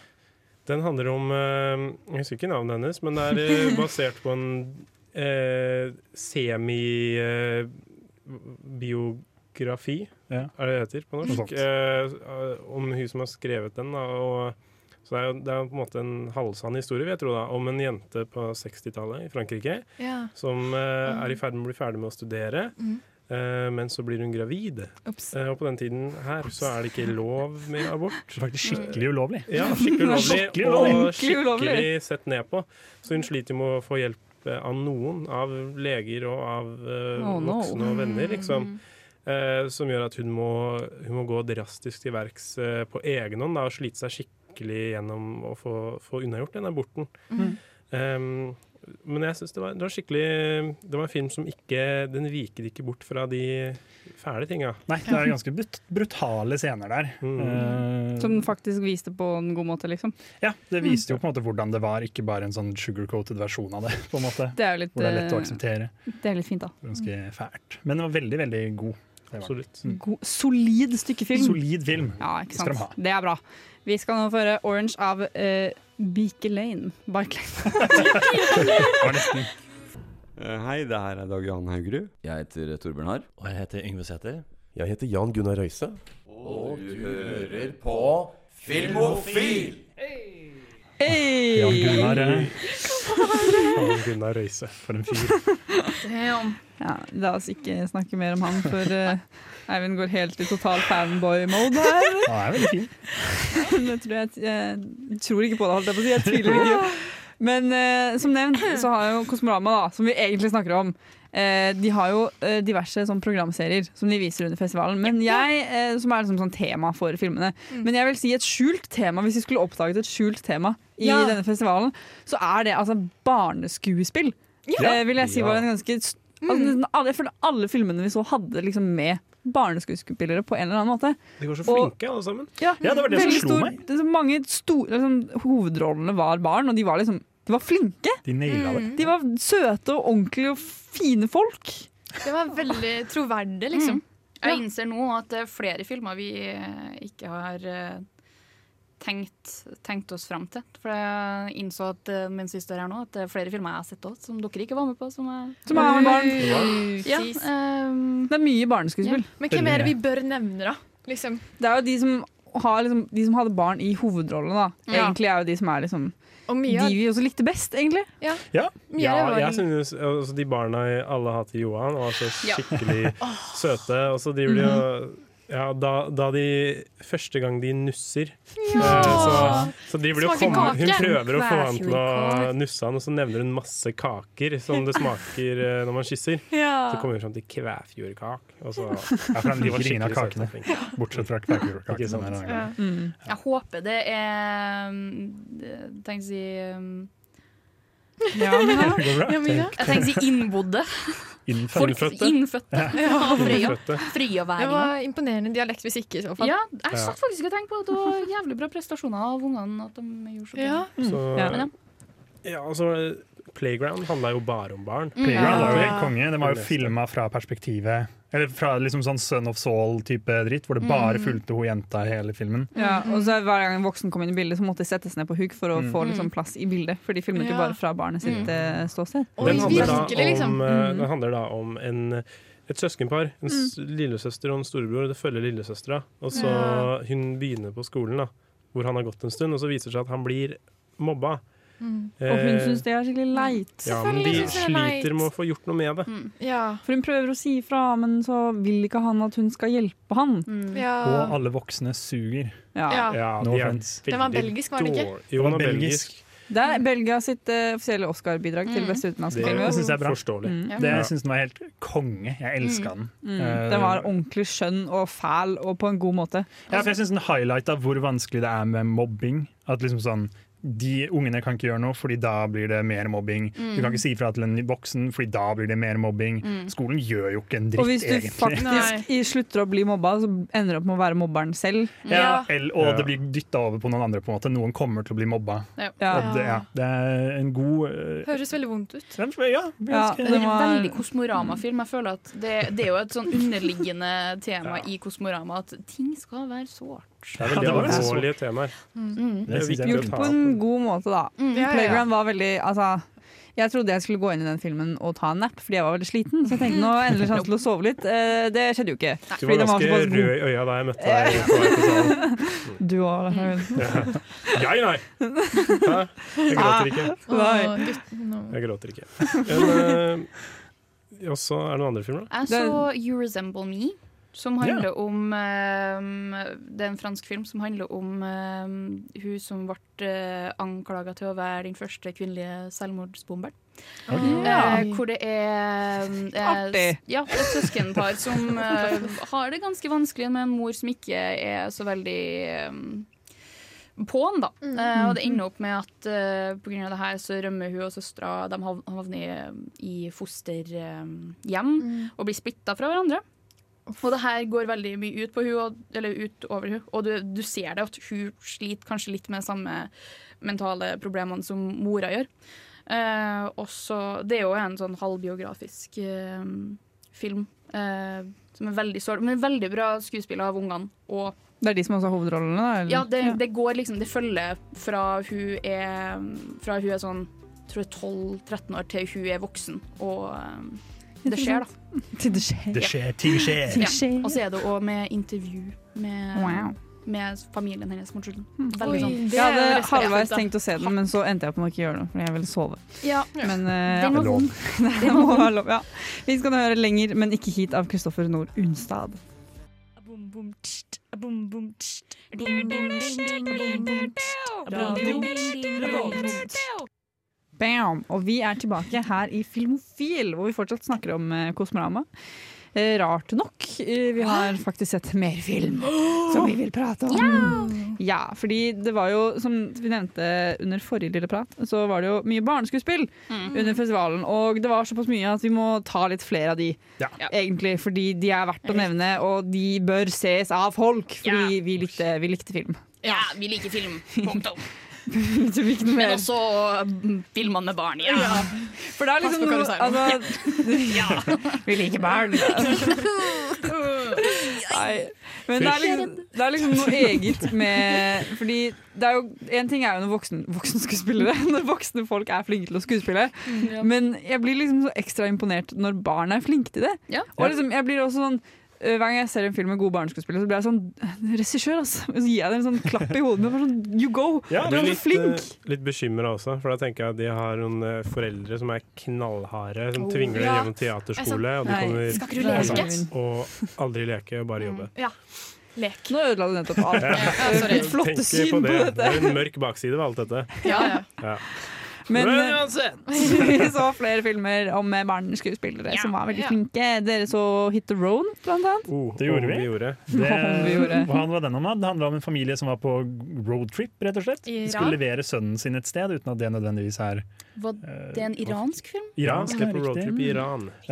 Den handler om eh, Jeg husker ikke navnet hennes, men det er [laughs] eh, basert på en eh, semi eh, biografi, er det det heter på
Noe
norsk?
sånt.
Eh, om hun som har skrevet den. Da, og, så det er, jo, det er jo på en måte en halvsann historie vil jeg tro, da, om en jente på 60-tallet i Frankrike
Ja.
som eh, er i ferd med å bli ferdig med å studere.
Mm.
eh, men så blir hun gravid,
Ops.
Eh, og på den tiden her så er det ikke lov med abort.
Faktisk skikkelig ulovlig.
Ja, skikkelig ulovlig,
Skikkelig
og
ulovlig.
skikkelig sett ned på. Så hun sliter med å få hjelp eh, av noen, av leger og av eh,
Oh, no. Mm.
voksne og venner, liksom. Eh, som gjør at hun må, hun må gå drastisk til verks eh, på egen hånd da, og slite seg skikkelig gjennom å få, få unnagjort den aborten.
Mm.
Ehm, men jeg synes det, var, det var skikkelig Det var en film som ikke Den viket ikke bort fra de fæle tinga. Mm,
Nei, det er ganske brut brutale scener der. Eh,
Mm. Som den faktisk viste på en god måte, liksom.
ja, det viste jo på en måte hvordan det var, ikke bare en sånn sugarcoated versjon av det. på en måte.
Det er jo litt,
Hvor det er lett å
eh,
akseptere.
Det er litt fint, da.
Ganske fælt. Men den var veldig, veldig god.
Absolutt.
God, solid stykke film.
Mm. Solid film.
Ja, ikke
Skal de ha.
sant. Det er bra. Vi skal nå føre Orange av eh, Beaker Lane. Bike Lane.
Hei, det her er Dag Johan Haugerud. Jeg heter Torbjørn Harr. Og jeg heter Yngve Sæther. Jeg heter Jan Gunnar Røise.
Og du hører på Filmofil!
Hey!
Jan Gunnar, eh.
Jan Gunnar Røise, for en fyr.
Ja, la oss ikke snakke mer om han, for eh, Eivind går helt i total fanboy-mode her.
Han er veldig fin.
[laughs]
[laughs]
Det tror jeg, jeg tror ikke på det, holdt jeg på å si. Jeg tviler ikke. Men eh, som nevnt så har jo Kosmorama, da, som vi egentlig snakker om, eh, de har jo eh, diverse sånn, programserier som de viser under festivalen. Men jeg, eh, Som er liksom sånn tema for filmene.
Mm.
Men jeg vil si et skjult tema, hvis vi skulle oppdaget et skjult tema i
Ja.
denne festivalen, så er det altså barneskuespill.
Ja. Mm.
Eh, vil jeg si
Ja.
var en ganske st- altså, nesten alle, Jeg føler alle filmene vi så, hadde liksom med barneskuespillere på en eller annen måte.
De var så
Og-
flinke, alle sammen.
ja, veldig stor-
meg.
det er så mange store, liksom, hovedrollene var barn, og de var liksom de var flinke.
De naila det.
De var søte og ordentlige og fine folk.
Det var veldig troverdig,
liksom.
liksom.
Jeg innser nå at det er flere filmer vi eh, ikke har eh, tenkt, tenkt oss fram til. For jeg innså at eh, mens vi står her nå, at det er flere filmer jeg har sett også, som dere ikke var med på. Som, er-
Som er med barn.
Ja, ehm,
Det er mye barneskuespill.
Ja. Men hvem er det vi
bør nevne, da? Liksom.
Det er jo de som, har, liksom, de som hadde barn i hovedrollene, da.
Ja.
Egentlig er jo de som er liksom
Og
De
mye av-
vi også likte best, egentlig.
Ja.
Ja,
Mye
ja
av det var-
jeg synes altså, de barna i alle hater Johan var så
Ja. [laughs] Mhm.
skikkelig søte. Og så driver de og ja, da, da de Første gang de nusser, eh, så, så driver de og
Smaker
kommer Hun
kake.
prøver å få
Vær
han til å nusse han, og så nevner hun masse kaker som det smaker eh, når man kysser.
Ja.
Så kommer hun fram til kvæfjordkak. Og så
Ja, for han liker ikke en
skikkelig
av
søte
kakene.
og flinke.
Bortsett fra kveikjordkakene.
Ikke sant?
der,
Ja.
Mm.
Jeg håper det er um, Jeg tenkte å si um,
Ja, Mina.
Det går bra. Ja, Mina.
Jeg tenkte å si innbodde.
[laughs] Innfødte.
Folk-
Innfødte.
Innfødte.
Ja. [laughs]
Av Frøya.
Innfødte.
Det
Frøyaværinger.
var imponerende dialekt, hvis ikke, i så fall.
Ja, jeg satt faktisk og tenkte på at det var jævlig bra prestasjoner av ungene. At de gjorde så bra.
[laughs]
Ja.
Så-
Men ja.
Ja, altså, Playground handla jo bare om barn.
Mm.
Playground var jo helt konge. De var jo filma fra perspektivet Eller fra liksom sånn Son of Soul-type dritt, hvor det bare
Mm.
fulgte hun jenta i hele filmen.
Ja, og så Hver gang en voksen kom inn i bildet, så måtte de settes ned på huk for å
Mm.
få liksom, plass i bildet. For de filmet jo
Ja.
bare fra barnet sitt
Mm.
eh, ståsted.
Den handler, da om,
virkelig, liksom.
eh,
Mm.
den handler da om en, et søskenpar. En s- lillesøster og en storebror. Det følger lillesøstera. Og så
Ja.
hun begynner på skolen, da, hvor han har gått en stund, og så viser det seg at han blir mobba.
Og hun
Eh,
syns det er skikkelig leit.
ja, men de sliter med å få gjort noe med det.
For hun prøver å si ifra, men så vil ikke han at hun skal hjelpe han.
Og alle voksne suger.
Ja. Ja.
No
de er
offense.
Den var belgisk, var den ikke?
dårlig- Jo, den var belgisk.
Det er Belgia sitt eh, offisielle Oscar-bidrag til
Mm.
beste utenlandske
Det,
film.
det syns jeg er bra.
Mm.
Det jeg synes den var helt konge. Jeg elska den.
Mm.
Eh,
Den var ordentlig skjønn og fæl, og på en god måte.
Ja, for jeg synes den highlighta hvor vanskelig det er med mobbing. At liksom sånn de ungene kan ikke gjøre noe, fordi da blir det mer mobbing.
Mm.
Du kan ikke si fra til en voksen, fordi da blir det mer mobbing.
Mm.
Skolen gjør jo ikke en dritt,
og hvis du
egentlig.
faktisk i- slutter å bli mobba, så ender du opp med å være mobberen selv.
Ja, el- og det blir dytta over på noen andre. på en måte Noen kommer til å bli mobba.
Ja.
Og det, ja, det er en god eh,
Høres veldig vondt ut.
Ja,
Ja,
ganske-
det er en veldig kosmorama-film. Jeg føler at det, det er jo et sånn underliggende tema i Kosmorama at ting skal være sårt.
Det er veldig
Ja, det var det.
alvorlige temaer.
Mm.
Det er
synes jeg
viktig
er
å
Gjort
ta
på
opp.
en god måte, da.
Mm.
ja, ja.
Mm, Playground var veldig altså, Jeg trodde jeg skulle gå inn i den filmen og ta en nap, fordi jeg var veldig sliten. Så jeg tenkte nå endelig sjanse til å sove litt. Eh, det skjedde jo ikke.
Du
fordi
var
den
ganske
såpass
rød
god.
i øya da jeg møtte deg. på vei til salen.
[laughs]
Du òg.
Mm.
Harald.
Jeg, nei. Hæ? Jeg
Ah.
gråter ikke.
Nei. Åh,
Jeg gråter [laughs] ikke. Men, eh, og så er det noen andre filmer, da.
Jeg så You Resemble Me, som handler om eh, Det er en fransk film som handler om eh, hun som ble uh, anklaga til å være den første kvinnelige selvmordsbomberen.
Oi.
Mm,
Eh, hvor det er eh,
Artig.
s- Ja, et søskenpar som eh, har det ganske vanskelig med en mor som ikke er så veldig eh, på'n, da. Eh, og det ender opp med at eh, på grunn av det her så rømmer hun og søstera. De hav- havner i i fosterhjem
Mm.
og blir splitta fra hverandre. Og det her går veldig mye ut på hun, og, eller ut over hun. Og du, du ser det at hun sliter kanskje litt med de samme mentale problemene som mora gjør. Eh, også, det er jo en sånn halvbiografisk eh, film eh, som er veldig sår, men veldig bra skuespill av ungene. Og
Det er de som også har hovedrollene, da? eller?
ja, det, det går liksom Det følger fra hun er Fra hun er sånn tror jeg 12-13 år til hun er voksen. Og um, det skjer, da.
Til det skjer.
Det skjer, ting
[laughs]
skjer.
Ja. Og så er det òg med intervju med,
Wow.
med familien hennes mot slutten.
Oi,
Veldig sånn.
jeg hadde halvveis tentenkt å se den, men så endte jeg på å ikke gjøre noe, fordi jeg ville sove.
Ja.
Men, eh,
Den var
ja.
vond.
Nei, [laughs] det må være lov, ja. Vi skal høre lenger, men ikke hit, av Kristoffer Nord Unstad. Bam! Og vi er tilbake her i Filmofil, hvor vi fortsatt snakker om eh, Kosmorama. Eh, Rart nok. eh, Vi har faktisk sett mer film som vi vil prate om. Ja! fordi det var jo, som vi nevnte under forrige lille prat, så var det jo mye barneskuespill
Mm.
under festivalen. Og det var såpass mye at vi må ta litt flere av de, egentlig. Fordi de er verdt å nevne, og de bør ses av folk, fordi vi, likte, vi likte film. [laughs]
Ja, vi liker film. Punktum.
Du vil ikke noe
[laughs] Men
mer?
også mm, filmer med barn. Ja.
Ja. For det
Pass
er liksom
på hva du
noe
sier.
[laughs] altså, Vi liker barn. Nei. Men det er, liksom, det er liksom noe eget med Fordi det er jo En ting er jo når voksen, voksenskuespillere [laughs] Når voksne folk er flinke til å skuespille.
Mm, Ja.
Men jeg blir liksom så ekstra imponert når barn er flinke til det.
Ja.
Og liksom, jeg blir også sånn øh, hver gang jeg ser en film med gode barneskuespillere, så blir jeg sånn Regissør, altså! Så gir jeg dem en sånn klapp i hodet. Bare sånn, you go! du er så flink!
eh, litt bekymra også, for da tenker jeg at de har noen eh, foreldre som er knallharde, som
Oh.
tvinger dem
Ja.
gjennom
Det
teaterskole,
er sant.
og de
Nei.
kommer
Skal ikke du Mm. leke?
Ikke sant? og aldri leke, bare jobbe.
Ja. Lek.
Nå ødela du nettopp alt.
Ja,
sorry. Mitt flotte
Tenker
syn på dette.
Det er en mørk bakside ved alt dette.
Ja, ja.
Ja.
Men, eh,
Men uansett.
[laughs] vi så flere filmer om barneskuespillere som var veldig
Ja.
flinke. Dere så Hit the Road, blant annet.
Oh,
Det gjorde
oh,
vi.
vi gjorde.
Det,
Om vi gjorde.
hva var den om, da? Det handla om en familie som var på roadtrip, rett og slett.
Iran.
De skulle levere sønnen sin et sted, uten at det nødvendigvis er
Var det en iransk film?
iransk.
Ja, på roadtrip i Iran.
Eh,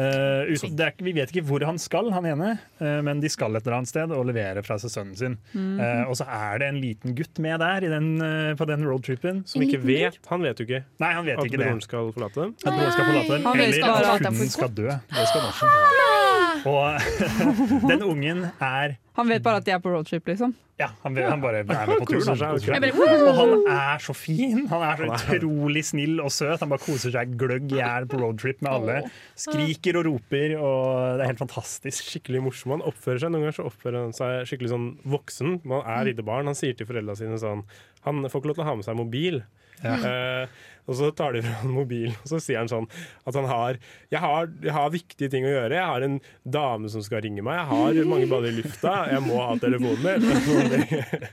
Sånn.
uten, det er, ikke- vi vet ikke hvor han skal, han ene, eh, men de skal et eller annet sted og levere fra seg sønnen sin.
Mhm.
Eh, og så er det en liten gutt med der i den, eh, på den roadtripen.
Som ikke vet Han vet jo ikke
Nei, han vet
at
ikke det.
broren skal forlate dem.
At broren skal forlate dem,
Han vet
eller
bare at
at
han
hun
får-
skal dø. Det skal han også. Og [laughs] den ungen er
Han vet bare at de er på roadtrip, liksom.
Ja, han, vil, han bare er med på turen.
Koser seg,
Han koser
jeg
seg.
bare-
Og han er så fin! Han er så utrolig snill og søt. Han bare koser seg gløgg i hjel på roadtrip med alle. Skriker og roper, og det er helt fantastisk.
Skikkelig morsom. Han oppfører seg noen ganger så oppfører han seg skikkelig sånn voksen. Man
Mm.
er lite barn. Han sier til foreldrene sine sånn Han får ikke lov til å ha med seg mobil. Eh, og så tar de fra han mobilen, og så sier han sånn at han har jeg, har jeg har viktige ting å gjøre. Jeg har en dame som skal ringe meg. Jeg har mange baller i lufta. Jeg må ha telefonen min.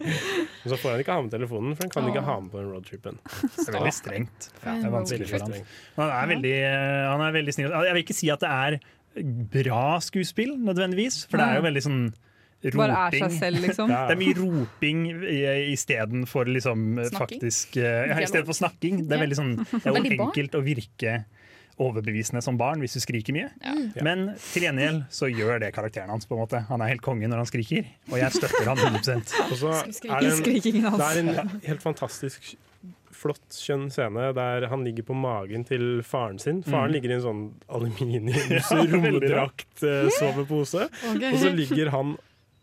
[laughs] Men så får han ikke ha med telefonen, for han kan ikke ha med på den roadtripen.
Det er veldig strengt.
Ja,
det er vanskelig for
Veldig
han.
strengt.
Men han er veldig, eh, han er veldig snill. Altså, Jeg vil ikke si at det er bra skuespill, nødvendigvis, for det er jo veldig sånn roping.
Bare er seg selv, liksom.
Det er mye roping istedenfor liksom
Snakking?
faktisk eh, ja, I stedet for snakking. Det er veldig
[laughs]
sånn Det er jo
Veldig barn.
enkelt å virke overbevisende som barn hvis du skriker mye.
Ja.
Men til gjengjeld så gjør det karakteren hans. på en måte Han er helt konge når han skriker, og jeg støtter han 100
Og så er det, en, det er en
Altså.
helt fantastisk flott skjønn scene der han ligger på magen til faren sin. Faren
Mm.
ligger i en sånn
[laughs] Ja,
aluminiumsromdrakt
veldig
romdrakt-sovepose,
Ok.
og så ligger han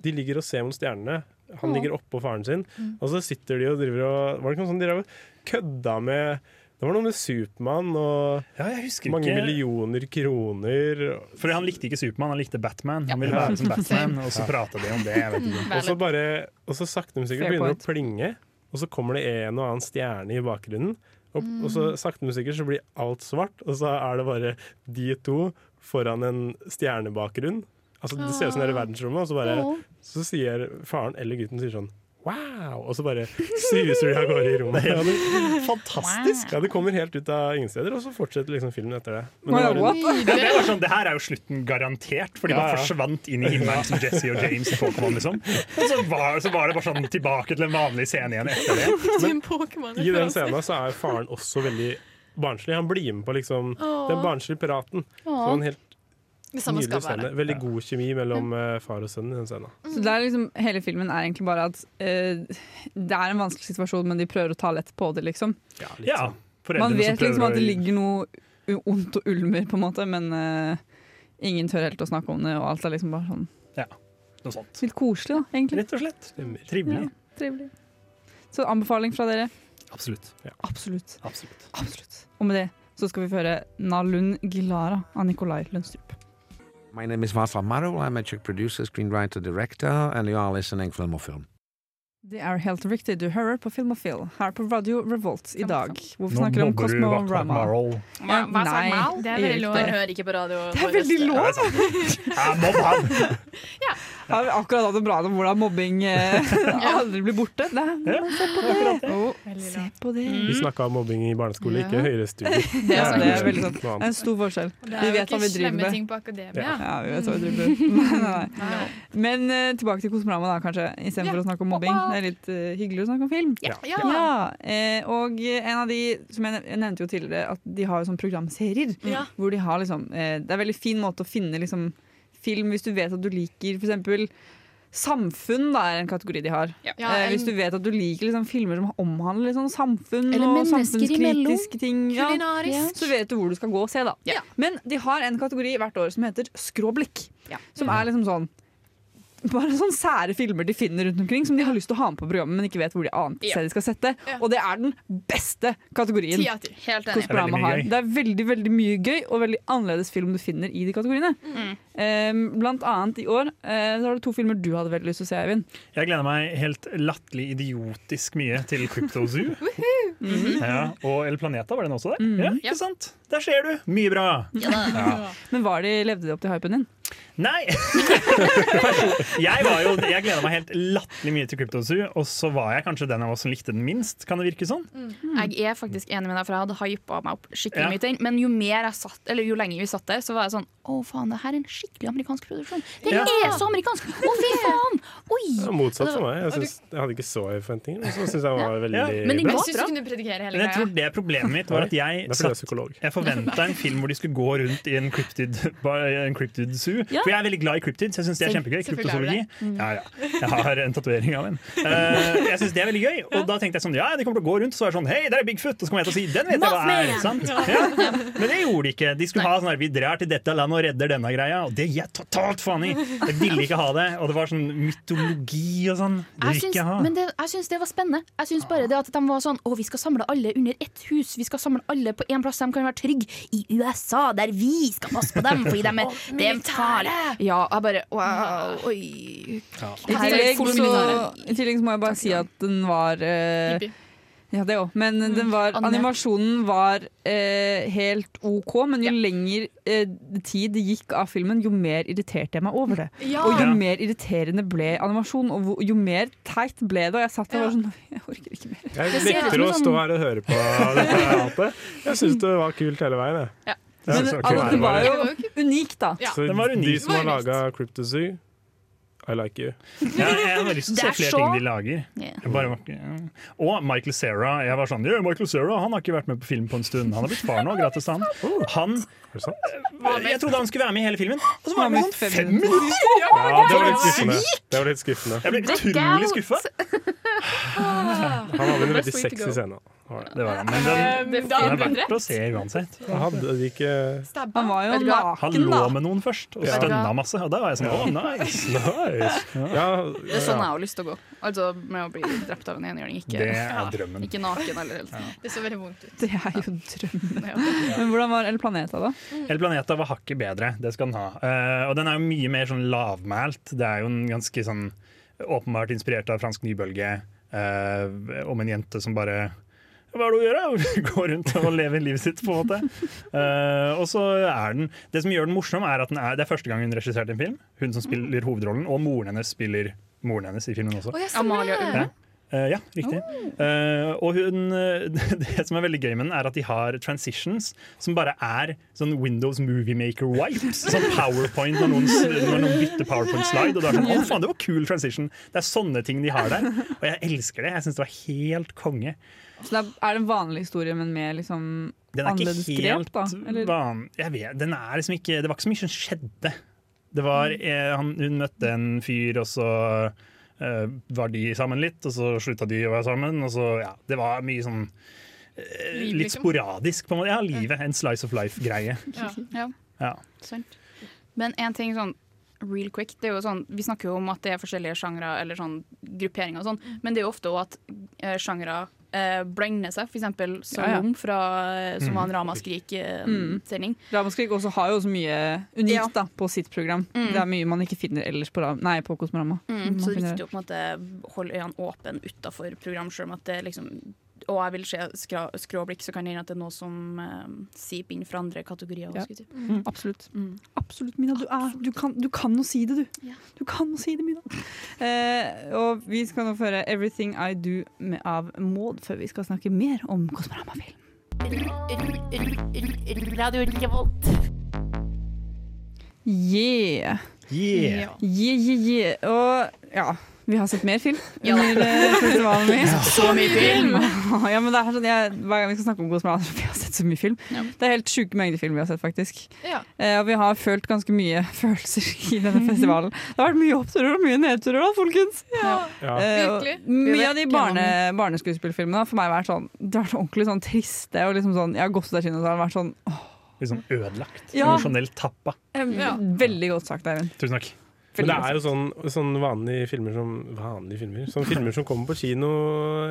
De ligger og ser mot stjernene. Han
Åh.
ligger oppå faren sin,
Mm.
og så sitter de og driver og Var det ikke noe sånn de drev og kødda med det var noe med Supermann og mange
ikke-
millioner kroner.
For han likte ikke Supermann, han likte Batman. Han ville
[laughs]
være som Batman, og så pratet de om det. Jeg vet ikke.
Og så bare, og så sakte, men sikkert
Fair
begynner det
point.
å plinge, og så kommer det en og annen stjerne i bakgrunnen. Og, og så
Mm.
sakte, men sikkert så blir alt svart, og så er det bare de to foran en stjernebakgrunn. Altså, det ser ut som det er i verdensrommet, og så, bare,
Ah. Åh.
så sier faren eller gutten sier sånn Wow! Og så bare suser de av gårde i rommet. Ja, det,
Fantastisk!
Ja, det kommer helt ut av ingen steder, og så fortsetter liksom filmen etter det.
[laughs] Men
det
det, var
var en-
en, det, var sånn, det her er jo slutten garantert, for de
Ja, ja.
bare forsvant inn i himmelen som Jesse og James i Pokémon. Liksom. Og så var, så var det bare sånn tilbake til en vanlig scene igjen etter det.
Din Pokémon
I den scenen så er faren også veldig barnslig. Han blir med på liksom
Åh.
den barnslige praten. Så
Åh.
en helt
Det samme skal
sånn nydelig
være.
scene. Veldig god kjemi mellom eh, far og sønn i den scenen.
Så det er liksom, hele filmen er egentlig bare at eh, det er en vanskelig situasjon, men de prøver å ta lett på det, liksom.
litt
Ja, foreldrene
Man
som
vet
prøver
liksom at det
å-
ligger noe u- ondt og ulmer, på en måte, men eh, ingen tør helt å snakke om det, og alt er liksom bare sånn
Ja, noe sånt.
litt koselig, da, egentlig.
Rett og slett. Trivelig.
Ja, trivelig. Så anbefaling fra dere.
Absolutt.
Absolutt.
Absolutt.
Og med det så skal vi føre Nalun Gilara av Nikolai Lønstrup.
My name is Václav Marou. I'm a Czech producer, screenwriter, director, and you are listening to Filmofilm.
Det er helt riktig, du hører på Filmofil her på Radio Revolt i dag. Hvor vi
Nå
snakker om
mobber du Václav
Cosmorama.
Marou.
Ja,
Hva sa Mal?
nei,
Det er veldig
gjør
lov.
ikke
Dere
det.
hører ikke på radio.
[laughs] Det er veldig lov!
Ja, mobb han!
Har vi akkurat hatt en prat om hvordan mobbing [laughs] eh, aldri blir borte. Nei, men se på det! Å, se på det.
Vi snakka om mobbing i barneskole,
Mm. Ja.
ikke høyere studier.
[laughs] Det er, sant, det er veldig sånn.
Noe
sant. Det er en
annet.
stor forskjell.
Og det er
Vi
jo
vet hva
ikke
vi driver
slemme
med.
ting på akademia.
Ja, vi vet hva [laughs] vi driver med. Nei, nei, nei. Men eh, tilbake til Kosmorama, da, kanskje, istedenfor for å snakke om mobbing. Det er litt eh, hyggelig å snakke om film.
Ja. Ja.
eh, og en av de som jeg, nev jeg nevnte jo tidligere, at de har jo sånn programserier.
Ja.
Hvor de har liksom eh, Det er en veldig fin måte å finne liksom, film hvis du vet at du liker f.eks. Samfunn da, er en kategori de har.
Ja,
eh,
en-
hvis du vet at du liker liksom, filmer som omhandler liksom, samfunn
Eller
og
mennesker imellom.
samfunnskritiske ting, ja,
Kulinarisk.
så vet du hvor du skal gå og se. da Men de har en kategori hvert år som heter skråblikk. Som er liksom sånn bare sånne sære filmer de finner rundt omkring som de har lyst til å ha med på programmet, men ikke vet hvor de annet
Ja.
sted de skal sette. Og det er den beste kategorien.
Ti av ti. Helt enig.
Kosmorama har.
Det er veldig mye gøy.
Det er veldig veldig mye gøy og veldig annerledes film du finner i de kategoriene.
Mm.
Eh, blant annet i år eh, så har du to filmer du hadde veldig lyst til å se, Eivind.
Jeg gleder meg helt latterlig idiotisk mye til Crypto Zoo.
Mhm.
ja, og El Planeta, var den også der? Ja,
Mhm.
ikke sant? Der ser du! Mye bra! Ja.
Men var de, levde de opp til hypen din?
Nei! [laughs] Jeg, var jo, jeg gleda meg helt latterlig mye til Crypto Zoo, og så var jeg kanskje den av oss som likte den minst, kan det virke sånn?
Jeg er faktisk enig med deg, for jeg hadde hypa meg opp skikkelig
Ja.
mye til den. Men jo, mer jeg satt, eller jo lenger vi satt der, så var jeg sånn Å, faen, det her er en skikkelig amerikansk produksjon. Den
Ja.
er så amerikansk! Å, fy faen! Oi!
Ja, Motsatt for meg. Jeg,
Og du-
synes, jeg hadde ikke så høye forventninger, men så syns jeg var veldig
Ja.
bra.
Men den
Jeg syns du kunne predikere hele
Men jeg tror
greia.
det problemet mitt var at jeg,
Derfor er jeg
satt- jeg forventa en film hvor de skulle gå rundt i en cryptid, en cryptid zoo.
Ja.
For jeg er veldig glad i cryptid, så jeg syns det er
Selv-
kjempegøy.
selvfølgelig er du
Kryptozoologi.
det. Mm.
Ja, ja. Jeg har en tatovering av en. Eh, jeg syns det er veldig gøy, og da tenkte jeg sånn ja, de kommer til å gå rundt og så er det sånn hei, der er Bigfoot, og så kommer jeg til å si den vet jeg hva er.
Mothman!
Sant? Ja. Men det gjorde de ikke. De skulle ha sånn her vi drar til dette landet og redder denne greia, og det gir jeg totalt faen i. Jeg ville ikke ha det, og det var sånn mytologi og sånn. Det
Jeg
vil
syns,
ikke jeg ha.
men det, jeg syns det var spennende. Jeg syns bare det at de var sånn Å, vi skal samle alle under ett hus. Vi skal samle alle på én plass. De kan være trygge i USA, der vi skal passe på dem. Fordi de [laughs] er,
Å,
de er farlige. Ja, jeg bare Wow. Oi.
I tillegg, så, I tillegg så må jeg bare si at den var eh,
Hippie.
Ja, det òg. Men den var,
animert.
animasjonen var eh, helt OK, men jo lenger eh, tid det gikk av filmen, jo mer irriterte jeg meg over det.
Ja.
Og jo
Ja.
mer irriterende ble animasjonen, og hvor- jo mer teit ble det. Og jeg satt der og var sånn [laughs] Jeg orker ikke mer.
Jeg
Det ser ut
nekter
som
å
sånn- Mm.
stå her og høre på dette hatet. Jeg syns det var kult hele veien. Jeg.
Ja.
Jeg
Men
synes det
altså, det var
hele
jo
veien.
unikt, da.
Så de som har laga Cryptozoo, I like you.
Ja, jeg har
Det
lyst til å se
er
flere
så-
ting de lager.
Ja.
Jeg Bare, var ikke- ja. og Michael Cera. Jeg var sånn, «Ja, Michael Cera han har ikke vært med på film på en stund. Han har blitt far nå, gratis
[laughs]
han. han jeg trodde han skulle være med i hele filmen, og så var han med sånn fem minutter!
Ja, det var litt
det
skuffende.
var sykt.
Det var litt skuffende.
Jeg ble utrolig skuffa.
Han hadde en veldig sexy scene. Var det.
Det var han, men
Eh,
den,
Det er
den er
fint.
verdt å se uansett.
Han hadde de ikke
Han var jo
Vet du hva?
Han lå med noen først, og
Ja.
stønna masse. Og da var jeg sånn, å nice!
Nice. Ja,
Det er sånn jeg har lyst til å gå. Altså med å bli drept av en enhjørning. Ikke,
Det er drømmen.
ikke naken eller helt. sånn.
Det så veldig vondt ut.
Det er jo drømmen. Men hvordan var El Planeta, da?
El Planeta var hakket bedre, det skal den ha. Eh, og den er jo mye mer sånn lavmælt. Det er jo en ganske sånn åpenbart inspirert av fransk nybølge eh, om en jente som bare hva er det å gjøre? [laughs] Gå rundt og leve livet sitt, på en måte. Eh, og så er den Det som gjør den morsom, er at den er, det er første gang hun regisserte en film. Hun som spiller hovedrollen, og moren hennes spiller moren hennes i filmen også.
Å, ja, stemmer Amalie det. Ulven.
Ja. Eh, ja, riktig. Eh, og hun, eh, [laughs] det som er veldig gøy med den, er at de har transitions som bare er sånn Windows Movie Maker wipes. Sånn powerpoint når noen, når noen bytter powerpoint-slide. Og da er det sånn, å faen, det var kul transition. Det er sånne ting de har der. Og jeg elsker det. Jeg syns det var helt konge.
Så det er- er det en vanlig historie, men med liksom
Den er
annerledes
ikke
grep,
helt
da? Eller?
van- Jeg vet, den er liksom ikke, det var ikke så mye som skjedde. Det var, eh, han, hun møtte en fyr, og så eh, var de sammen litt, og så slutta de å være sammen. Og så, ja, det var mye sånn eh,
Liv,
Litt
liksom.
sporadisk, på en måte. Ja, livet. En slice of life-greie.
Ja. Ja.
Ja.
Sant. Men en ting sånn real quick, det er jo sånn, Vi snakker jo om at det er forskjellige sjangre eller sånn grupperinger, og sånn, men det er jo ofte også at eh, sjangre eh, blander seg. For eksempel
Ja, ja.
Salom, fra, eh, som
Mm.
var en eh, Ramaskrik-sending.
Ramaskrik også har jo så mye unikt da, på sitt program.
Mm.
Det er mye man ikke finner ellers på, Ra- nei, på Kosmorama.
Mm,
Man
så det er
finner-
viktig å på en måte holde øynene åpne utafor program, selv om at det liksom
og jeg vil se skra, skråblikk, så kan det hende at det er noe som eh,
ehm,
siper inn fra andre kategorier. også,
Ja.
skulle jeg si.
Mm. Absolutt. Absolutt, Mina. Du, er, du, kan, du kan å si det, du. Du kan å si det, Mina. Eh, og vi skal nå føre 'Everything I Do' med, av Maud, før vi skal snakke mer om Kosmorama-film.
Radio Revolt.
Yeah.
Yeah.
yeah, yeah, yeah. Og ja, vi har sett mer film
Ja.
under eh, festivalen min.
Ja. Så mye film!
[laughs] ja, men det er sånn, jeg, hver gang vi skal snakke om Kosmorama, så [laughs] vi har sett så mye film. Det er helt sjuke mengder film vi har sett, faktisk.
Ja.
Eh, og vi har følt ganske mye [laughs] følelser i denne festivalen. Det har vært mye oppturer og mye nedturer, da, folkens.
Ja.
Eh, og
Virkelig. Vi
mye
har
av de
vært
barne, barneskuespillfilmene har for meg vært sånn Det har vært ordentlig sånn triste og liksom sånn Jeg har gått ut av kinosalen og vært sånn åh,
Litt sånn ødelagt.
Ja.
Emosjonelt tappa.
em,
Ja.
Veldig godt sagt, Eivind.
Tusen takk.
Men det er jo sånn, sånn vanlige filmer som Vanlige filmer? Sånn filmer som kommer på kino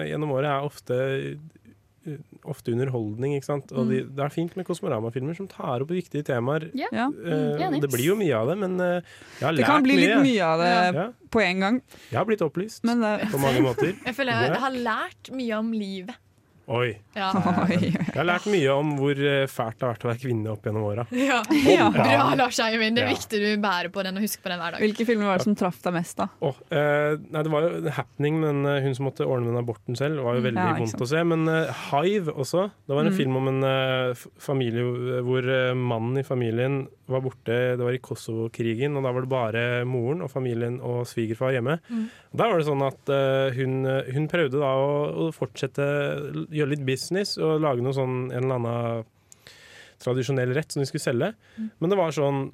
gjennom året, er ofte eh, Ofte underholdning, ikke sant. Og de, det er fint med Kosmorama-filmer som tar opp viktige temaer.
Ja. Ja.
Eh,
Mm, enig.
det blir jo mye av det, men eh, jeg har lært
Det kan bli litt
jeg.
mye av det
Ja.
på en gang.
Jeg har blitt opplyst
Men eh, det-
på mange måter.
Jeg føler jeg
Ja.
har- har lært mye om livet.
Oi.
Ja.
[laughs]
Jeg har lært mye om hvor eh, fælt det har vært å være kvinne opp gjennom åra.
[laughs] Ja.
Ja.
Bra, Lars Eivind. Det er
Ja.
viktig du bærer på den og husker på den hver dag.
Hvilke filmer var det som traff deg mest, da?
Åh, eh, nei, det var jo en happening, men eh, hun som måtte ordne med den aborten selv, var jo
Mm.
veldig
Ja, ikke
vondt
sant.
å se. Men eh, Hive også. Det var en
Mm.
film om en eh, f- familie hvor eh, mannen i familien var borte, det var i Kosovo-krigen, og da var det bare moren og familien og svigerfar hjemme.
Mm.
Og Da var det sånn at eh, hun, hun prøvde da å, å fortsette, gjøre litt business og lage noe sånn en eller annen tradisjonell rett som de skulle selge. Men det var sånn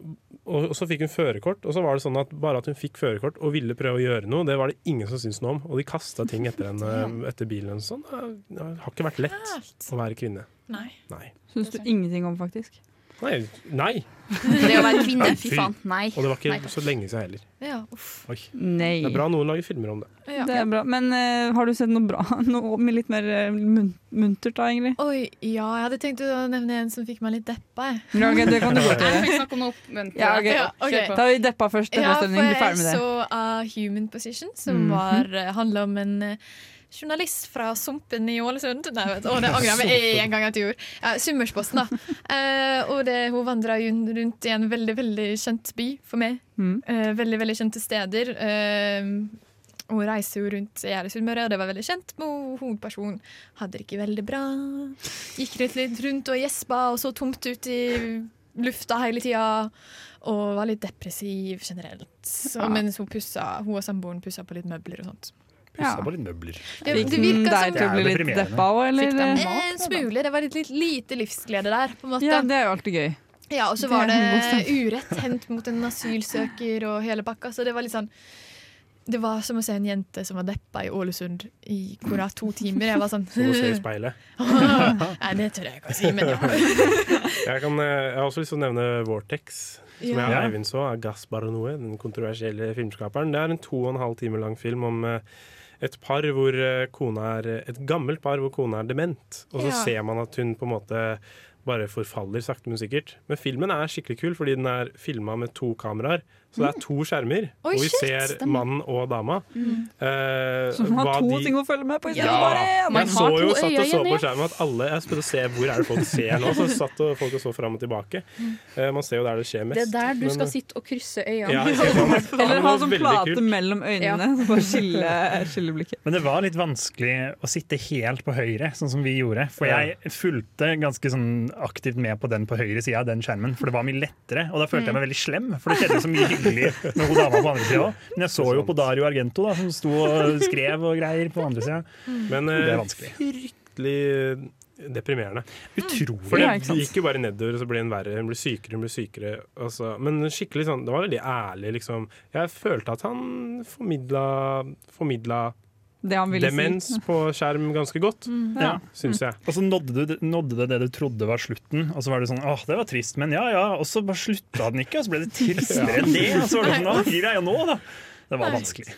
Og og så fikk hun førerkort, og så var det sånn at bare at hun fikk førerkort og ville prøve å gjøre noe, det var det ingen som syntes noe om. Og de kasta ting etter henne etter bilen og sånn. Det har ikke vært lett å være kvinne.
Nei.
Nei.
Syns du ingenting om, faktisk?
Nei. nei.
Det å være kvinne, fy
Fy.
faen, nei.
Og det var ikke
Nei, takk.
så lenge siden heller.
Ja,
Oi.
Nei.
Det er bra noen lager filmer om det.
Det er bra. Men eh, har du sett noe bra? [laughs] Noe med litt mer eh, mun muntert, da, egentlig?
Oi, ja, jeg hadde tenkt å nevne en som fikk meg litt deppa. jeg.
Ja, ok, det kan du godt gjøre. [laughs]
Jeg fikk
snakke om noe oppmuntret.
Ja, ok.
Ja, ok.
Kjør på. Da har vi deppa først.
Ja,
Deppa
for
stemning. Bli ferdig med
jeg
det.
så uh, Human Position, som
Mhm.
var, uh, handla om en uh, journalist fra Sumpen i Ålesund. Nei, vet, du, å, det angrer jeg med en gang at jeg gjorde. Ja, Summersposten,
[laughs]
da. Eh, og det, hun vandra rundt i en veldig, veldig kjent by for meg.
Mhm.
Eh, veldig, veldig kjente steder. Eh, hun reiser jo rundt i hele Sunnmøre, og det var veldig kjent. Men hun- hovedpersonen hadde det ikke veldig bra. Gikk litt, litt rundt og gjespa, og så tomt ut i lufta hele tida. Og var litt depressiv generelt. Så,
Ja.
Mens hun, pussa, hun og samboeren pussa på litt møbler og sånt.
Pussa på litt møbler.
Det,
Fikk
det virka
deg
som
til å bli litt
deprimerende.
deppa òg, eller?
Fikk dem en smule. Det var litt, litt lite livsglede der, på en måte.
Ja, det er jo alltid gøy.
Ja, og så
Det
var
er
det
en god stund.
urett hendt mot en asylsøker og hele pakka, så det var litt sånn Det var som å se en jente som var deppa i Ålesund i hvorav to timer. Jeg var sånn
Som å se i speilet.
Nei, det tør jeg ikke å si, men ja.
Jeg, kan, eh, jeg har også lyst til å nevne Vortex, som
Ja.
jeg og
Ja.
Eivind så, av Gas Baranoe, den kontroversielle filmskaperen. Det er en to og en halv time lang film om eh, et par hvor eh, kona er Et gammelt par hvor kona er dement, og så
Ja.
ser man at hun på en måte bare forfaller sakte, men sikkert. Men filmen er skikkelig kul, fordi den er filma med to kameraer. Så det er to skjermer,
Mm. Oi,
og vi
shit,
ser
stemmer.
mannen og dama.
Mm.
Eh,
Så man har
hva
to
de-
ting å følge med på i stedet
ja.
for bare én. Man
Jeg så
har
jo
to
satt og så
øyer igjen,
på
ja.
skjermen at alle Jeg spurte å se hvor er det folk ser nå, så satt og folk og så fram og tilbake. Eh, man ser jo der det skjer mest.
Det er der du
men- eh,
skal sitte og krysse øynene.
Ja, jeg ser det.
Eller ha
Det var
sånn
veldig
plate
kult.
mellom øynene.
Ja.
så Bare skille, [laughs] skille blikket.
Men det var litt vanskelig å sitte helt på høyre, sånn som vi gjorde. For
Ja.
jeg fulgte ganske sånn aktivt med på den på høyre sida av den skjermen, for det var mye lettere. Og da følte jeg meg veldig slem, for det skjedde så mye hyggelig med hun dama på andre sida òg. Men jeg så jo på Dario Argento, da, som sto og skrev og greier på andre sida.
Men
det er
eh,
vanskelig.
fryktelig eh, deprimerende.
Utrolig.
For det
Ja, ikke sant?
gikk jo bare nedover, og så ble hun verre. Hun ble sykere, hun ble sykere. Altså. Men skikkelig sånn, det var veldig ærlig, liksom. Jeg følte at han formidla, formidla
Det han ville
demens
si.
på skjerm ganske godt,
Mm. Ja.
syns jeg.
Og så nådde, du, nådde det det du trodde var slutten, og så var det sånn åh, det var trist, men ja ja. Og så bare slutta den ikke, og så ble det tristere enn det. Og så var det sånn, hva gir jeg nå, da? Det var vanskelig.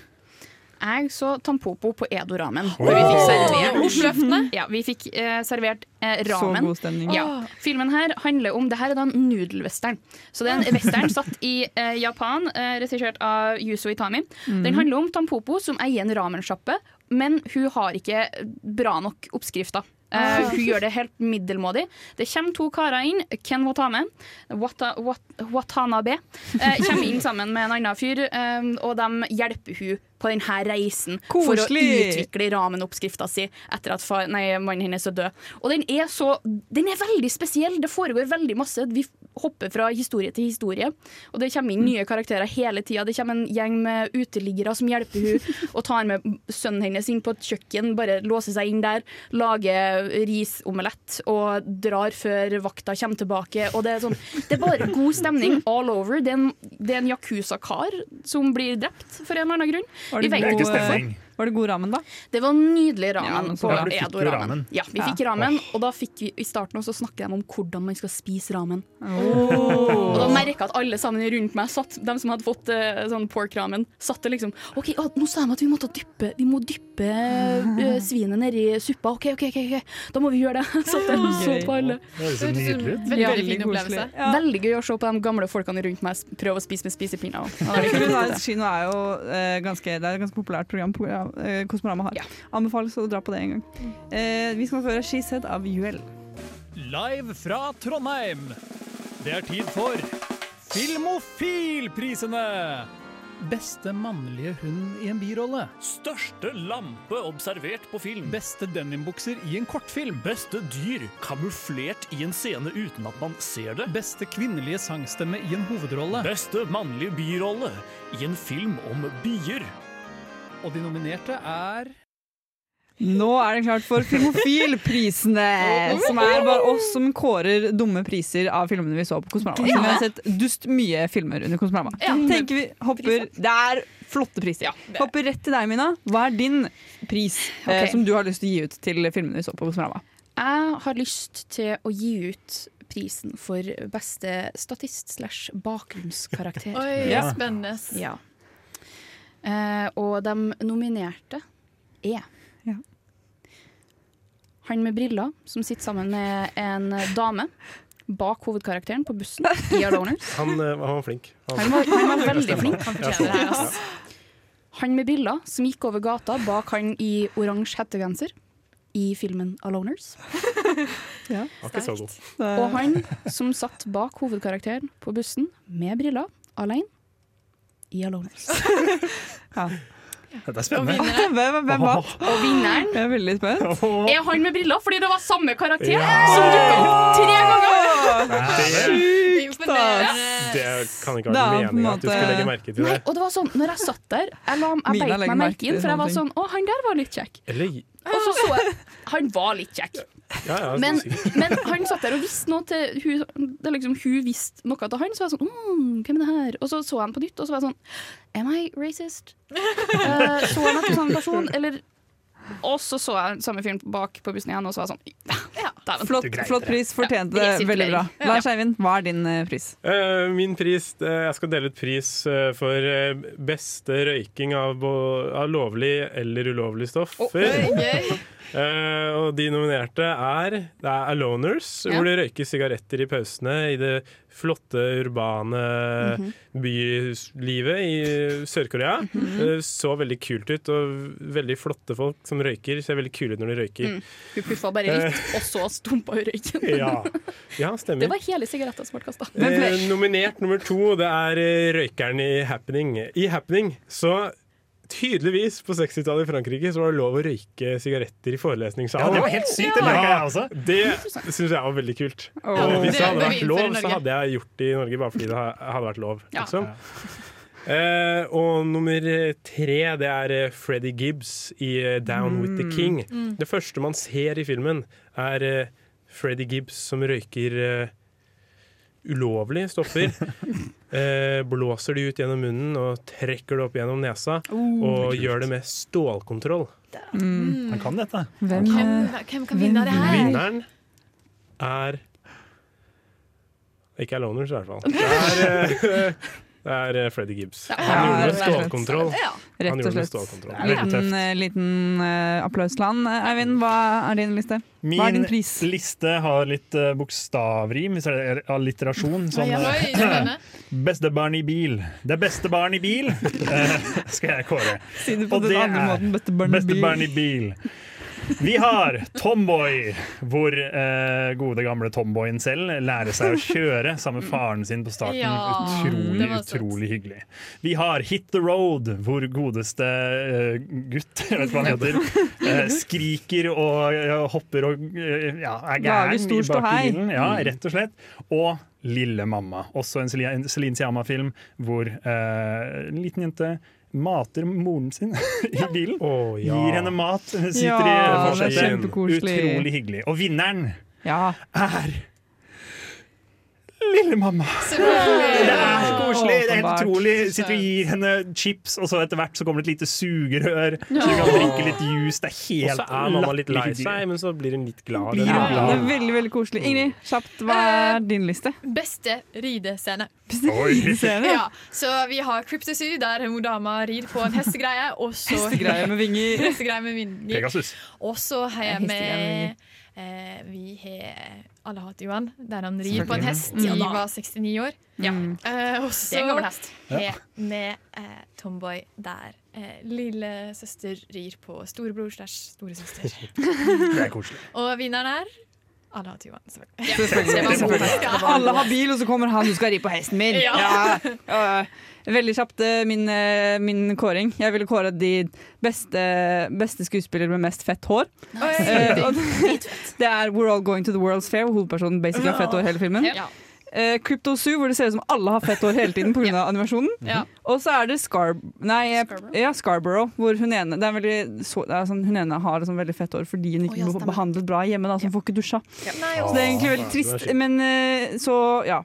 jeg så Tampopo på Edo-ramen.
Oi.
Hvor vi fikk
Åh,
servert
Oslo-løftene.
Ja, vi fikk eh, servert eh, ramen.
Så god stemning.
Ja.
Åh.
Filmen her handler om Det her er da en nudelwestern. Så det er en western satt i eh, Japan, eh, regissert av Yuzo Itami.
Mhm.
Den handler om Tampopo som eier en ramensjappe, men hun har ikke bra nok oppskrifter. Eh,
Ah.
hun gjør det helt middelmådig. Det kommer to karer inn. Ken Watame, Wata, Wat, Watanabe, eh, kommer inn sammen med en annen fyr, eh, og de hjelper hun på denne reisen for å
Koselig.
utvikle skikkelig ramenoppskrifta si etter at fa nei, mannen hennes er død. Og den er så Den er veldig spesiell. Det foregår veldig masse. Vi hopper fra historie til historie. Og det kommer inn nye karakterer hele tida. Det kommer en gjeng med uteliggere som hjelper hun og tar med sønnen hennes inn på et kjøkken, bare låser seg inn der, lager risomelett og drar før vakta kommer tilbake. Og det er sånn Det er bare god stemning all over. Det er en, det er en yakuza-kar som blir drept for en eller annen grunn.
Var
Vi
det,
vet ikke
god,
hvorfor.
eh, var det god ramen, da?
Det var nydelig ramen
men så
på
bra. Ja, for du fikk jo
Edo-ramen.
ramen.
Ja, vi fikk
Ja.
ramen, og da fikk vi i starten også snakke om hvordan man skal spise ramen.
Åh.
Og da merka jeg at alle sammen rundt meg, satt, de som hadde fått eh, sånn pork-ramen, satt det liksom OK, å, nå sa de at vi måtte dyppe Vi må dyppe eh, svinet nedi suppa. OK, OK, OK, ok, da må vi gjøre det. [laughs] Satt der og så på alle.
Det høres jo nydelig ut.
Ja.
veldig fin opplevelse.
Veldig koselig. Veldig gøy å se på de gamle folkene rundt meg prøve å spise med spisepinner. også.
Ja,
Ja, Ah, det er kult, det.
Kino er jo eh, ganske, det er et ganske populært program program, eh, Kosmorama har. Anbefales å dra på det en gang.
Mm.
Eh, vi skal få høre She Said av UL.
Live fra Trondheim. Det er tid for Filmofilprisene! Beste mannlige hund i en birolle. Største lampe observert på film. Beste denimbukser i en kortfilm. Beste dyr kamuflert i en scene uten at man ser det. Beste kvinnelige sangstemme i en hovedrolle. Beste mannlige birolle i en film om bier. Og de nominerte er
Nå er det klart for
[laughs]
Filmofilprisene, som er bare oss som kårer dumme priser av filmene vi så på Kosmorama.
Ja.
Så Vi har sett dust mye filmer under Kosmorama. Mm.
Ja.
Tenker vi hopper, det er flotte priser. Hopper rett til deg, Mina. Hva er din pris eh,
Ok.
som du har lyst til å gi ut til filmene vi så på Kosmorama?
Jeg har lyst til å gi ut prisen for beste statist slash bakgrunnskarakter.
Oi,
Ja.
spennende.
Ja. Eh, og de nominerte er han med briller som sitter sammen med en dame bak hovedkarakteren på bussen i Aloners.
[laughs] Han, eh, han var flink.
Han var, han var veldig
Stemmer.
flink. Han fortjener det her, ass. Han med briller som gikk over gata bak han i oransje hettegenser i filmen 'Aloners'.
Var ikke så god.
Og han som satt bak hovedkarakteren på bussen med briller, alene, i 'Aloners'.
Dette er
Og
spennende.
vinneren.
[laughs] Hvem, hvem vant?
Og vinneren
Jeg er veldig spent.
er han med briller, fordi det var samme karakter
Ja.
som dukka opp tre ganger!
Sjukt,
ass!
Det kan ikke
Da,
være
på en
meningen at du skulle
måte-
legge merke til
Nei,
det.
og det var sånn, når jeg satt der, jeg, la, jeg
Mina
beit
legger
meg
merke
merke inn,
til
for jeg var
sånne
sånn Å, han der var litt kjekk.
Eller ja,
Og så så jeg Han var litt kjekk.
ja,
Men,
sikkert.
[laughs] men han satt der og visste noe til hun, det er liksom, hun visste noe til han, så var jeg sånn mm, Hvem er det her? Og så så jeg han på nytt, og så var jeg sånn Am I racist? Eh, så han etter sånn person, eller Og så så jeg samme fyren bak på bussen igjen, og så var jeg sånn ja, dæven.
Flott, flott pris, fortjente
Ja,
det veldig bra.
resirkulering.
Lars Eivind, hva er din eh, pris?
Eh, min pris eh, Jeg skal dele ut pris eh, for eh, beste røyking av, bo- av lovlig eller ulovlig stoffer. Eh, og de nominerte er Det er Aloners,
Ja.
hvor det røykes sigaretter i pausene i det flotte, urbane Eh,
Mhm.
bylivet i Sør-Korea.
Mhm.
Det så veldig kult ut, og veldig flotte folk som røyker ser veldig kule ut når de røyker.
Mm. Hun puffa bare litt,
Eh.
og så stumpa hun røyken.
Ja. ja, stemmer.
Det var hele sigaretta som ble kasta.
Eh, nominert nummer to, det er eh, røykeren i Happening. I Happening så Tydeligvis på 60-tallet i Frankrike så var det lov å røyke sigaretter i forelesningssalen.
Ja, det var helt sykt, det merket jeg også.
Det syns jeg var veldig kult.
Åh.
Og
Det
hvis det hadde
bør vi
vært
innføre i
lov,
Norge.
så hadde jeg gjort det i Norge bare fordi det ha- hadde vært lov.
Ja.
Liksom. Eh, og nummer tre, det er eh, Freddie Gibbs i eh, Down with the
Mm.
King.
Mm.
Det første man ser i filmen, er eh, Freddie Gibbs som røyker eh, ulovlige stoffer. eh, blåser de ut gjennom munnen og trekker det opp gjennom nesa.
Oh.
og gjør det med stålkontroll.
Mm.
Han kan dette.
Hvem, hvem kan vinne det her?
Vinneren er Ikke Aloners, i hvert fall. Det er eh, Det er eh, Freddy Gibbs.
Ja,
Han gjorde
rett og slett.
stålkontroll.
Ja.
Han
Rett
gjorde
og
det med
slett.
stålkontroll.
Liten, eh, liten eh, applaus til han. Eh, Eivind, hva er din liste? Hva er
Min
din pris?
liste har litt eh, bokstavrim, hvis det er alliterasjon. Sånn,
Oi, oi,
eh,
[clears throat]
spennende.
beste barn i bil. Det beste barn i bil eh, skal jeg kåre.
Si det på den andre måten, beste barn i
beste
bil.
barn i bil. Vi har Tomboy, hvor eh, gode gamle Tomboyen selv lærer seg å kjøre sammen med faren sin på starten.
Ja,
utrolig,
det var søtt.
utrolig hyggelig. Vi har Hit the Road, hvor godeste eh, gutt, jeg vet ikke hva han heter, eh, skriker og eh, hopper og eh, ja, er
Lager
gæren
stor
i bak i
ståhei.
bilen. Ja,
Mm.
rett og slett. Og Lille mamma, også en Celine en Celine Sciamma-film hvor eh, en liten jente mater moren sin [laughs] i bilen.
ja.
Gir henne mat, hun sitter
Ja,
i
det er
forsetet.
kjempekoselig.
Utrolig hyggelig. Og vinneren er
Lille
mamma. Det er så koselig! Det er helt utrolig. Sitter og gir henne chips, og så etter hvert så kommer det et lite sugerør. Så hun kan drikke litt juice. Det er
Og
helt
så er mamma litt lei
latterlig.
seg, men så blir hun litt glad.
Blir
Den
hun
er-
Det er veldig, veldig koselig. Ingrid, kjapt, hva er din liste?
Beste ridescene.
Oi.
Ridescene?
[laughs] Ja, så vi har Cryptosy, der hun dama rir på en hestegreie. Og så
Hestegreie
[laughs]
med vinger.
Hestegreie med vinger.
Pegasus.
Og så har jeg
Hestegreie med
med eh, Vi har Alle hater Johan, der han rir på en
Selvfølgelig.
hest.
Ja
Vi
da.
var 69 år.
Mm.
Eh, og
Det er
så
en gammel hest.
har
Ja.
jeg med eh, Tomboy, der eh, lillesøster rir på storebror slash storesøster.
Det er koselig.
Og vinneren er Alle hater Johan, selvfølgelig.
Selvfølgelig. selvfølgelig. Alle har bil, og så kommer han du skal ri på hesten min.
Ja.
Ja. Veldig kjapt eh, min, eh, min kåring. Jeg ville kåre de beste, beste skuespillere med mest fett hår.
Nice.
Eh, og det, det er We're All Going to the World's Fair, hvor hovedpersonen basically har fett hår hele filmen.
Ja.
Eh, Crypto Zoo, hvor det ser ut som alle har fett hår hele tiden pga. animasjonen.
Ja.
Og så er det Scar nei, eh, Ja, Scarborough, hvor hun ene, det er veldig, så, det er sånn, hun ene har liksom veldig fett hår fordi hun ikke
Å, ja,
blir behandlet bra hjemme. Da, så hun får ikke dusja.
Nei,
Så
også-
det er egentlig veldig
Åh,
trist,
det er kjipt.
men eh, så ja.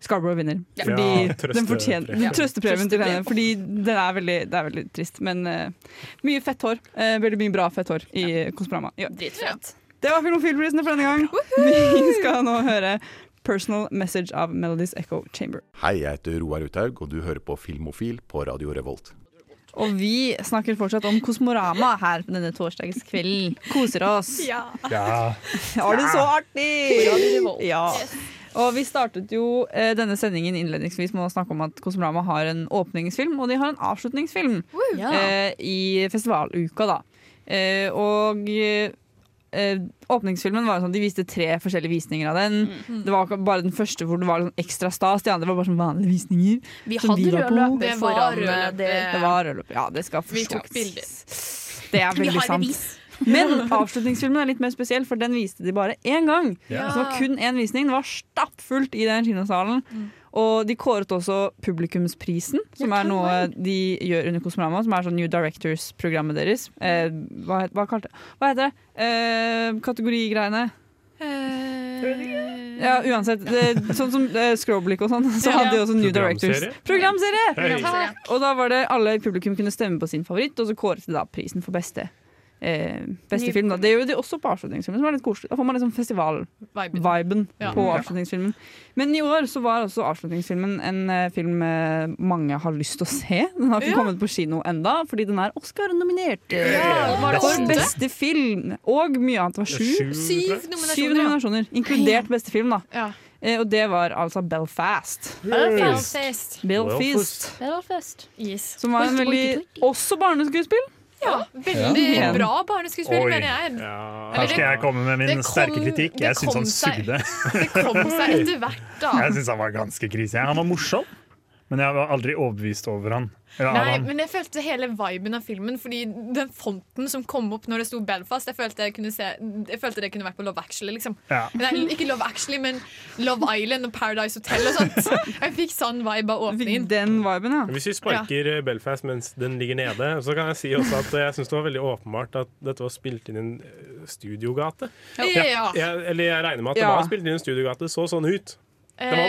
Scarborough vinner,
Ja.
fordi
Ja,
den fortjener
trøstepremie.
trøstepremien til henne. Fordi den er veldig, det er veldig trist, men eh, mye fett hår. eh, veldig mye bra fett hår i Kosmorama. Ja.
Dritfett.
Det var Filmofilprisene for denne gang. [laughs] Vi skal nå høre 'Personal Message' av Melodies Echo Chamber.
Hei, jeg heter Roar Uthaug, og du hører på Filmofil på Radio Revolt.
Og vi snakker fortsatt om Kosmorama her på denne torsdagskvelden. Koser oss.
Ja.
Ah.
Ja.
Har det så
Ja, det er
artig!
revolt.
Ja. Og vi startet jo eh, denne sendingen innledningsvis med å snakke om at Kosmorama har en åpningsfilm, og de har en avslutningsfilm
Ja.
Ah.
eh, i festivaluka, da. Eh, og eh, eh, åpningsfilmen var sånn, de viste tre forskjellige visninger av den.
Mm.
Det var ikke bare den første hvor det var sånn ekstra stas, de andre var bare sånn vanlige visninger.
Vi
som
hadde
var
rød
på.
løper Det var foran, rød eh, løper. det-
Det var rød løper, ja, det skal
Vi tok
forstås.
bilder.
Det er
Vi
veldig
har
sant.
bevis.
Men avslutningsfilmen er litt mer spesiell, for den viste de bare én gang.
Ja.
Så det var kun én visning. Det var stappfullt i den kinosalen. Og de kåret også Publikumsprisen, som er noe de gjør under Kosmorama, som er sånn New Directors-programmet deres. Eh, hva, het- hva, kalte- hva heter det? Eh, kategorigreiene.
Eh,
Ja, uansett. Det, sånn som eh, Skråblikk og sånn, så
Ja.
hadde de også New
Programserie?
Directors. Programserie!
Hei.
Takk. Og da var det alle i publikum kunne stemme på sin favoritt, og så kåret de da prisen for beste. Eh, beste
Ny
film da. Det gjør de også på avslutningsfilmen, som er litt koselig. Da får man liksom festival-viben
Ja.
på
Ja.
avslutningsfilmen. Men i år så var også avslutningsfilmen en eh, film eh, mange har lyst til å se. Den har ikke
Ja.
kommet på kino enda, fordi den er Oscar-nominert.
Ja, var det
for
åtte?
beste film, og mye annet. Det var sju.
Sju, Syv tror jeg. nominasjoner,
Syv
ja.
nominasjoner, inkludert beste film, da. Eh, og det var altså Belfast.
Belfast.
Belfast.
Belfast. Yes.
Som var en veldig Også barneskuespill.
Ja, veldig
Ja.
bra barneskuespill, mener jeg.
Her skal jeg komme med min
Det kom-
sterke kritikk.
det
Jeg syns
kom
han
seg- Ah.
sugde.
Det kom seg etter hvert, da.
Jeg syns han var ganske krise. Han var morsom, men jeg var aldri overbevist over han. Eller av
Nei,
han.
men jeg følte hele viben av filmen, fordi den fonten som kom opp når det sto Belfast, jeg følte, jeg kunne se, jeg følte det kunne vært på Love Actually, liksom.
Ja.
Nei, ikke Love Actually, men Love Island og Paradise Hotel og sånt. Jeg fikk sånn vibe av åpningen.
Den viben, ja.
Hvis vi sparker eh, Belfast mens den ligger nede, så kan jeg si også at jeg syns det var veldig åpenbart at dette var spilt inn i en eh, studiogate.
Ja.
Jeg, eller jeg regner med at det
Ja.
var spilt inn i en studiogate. Det så sånn ut. Det
Eh,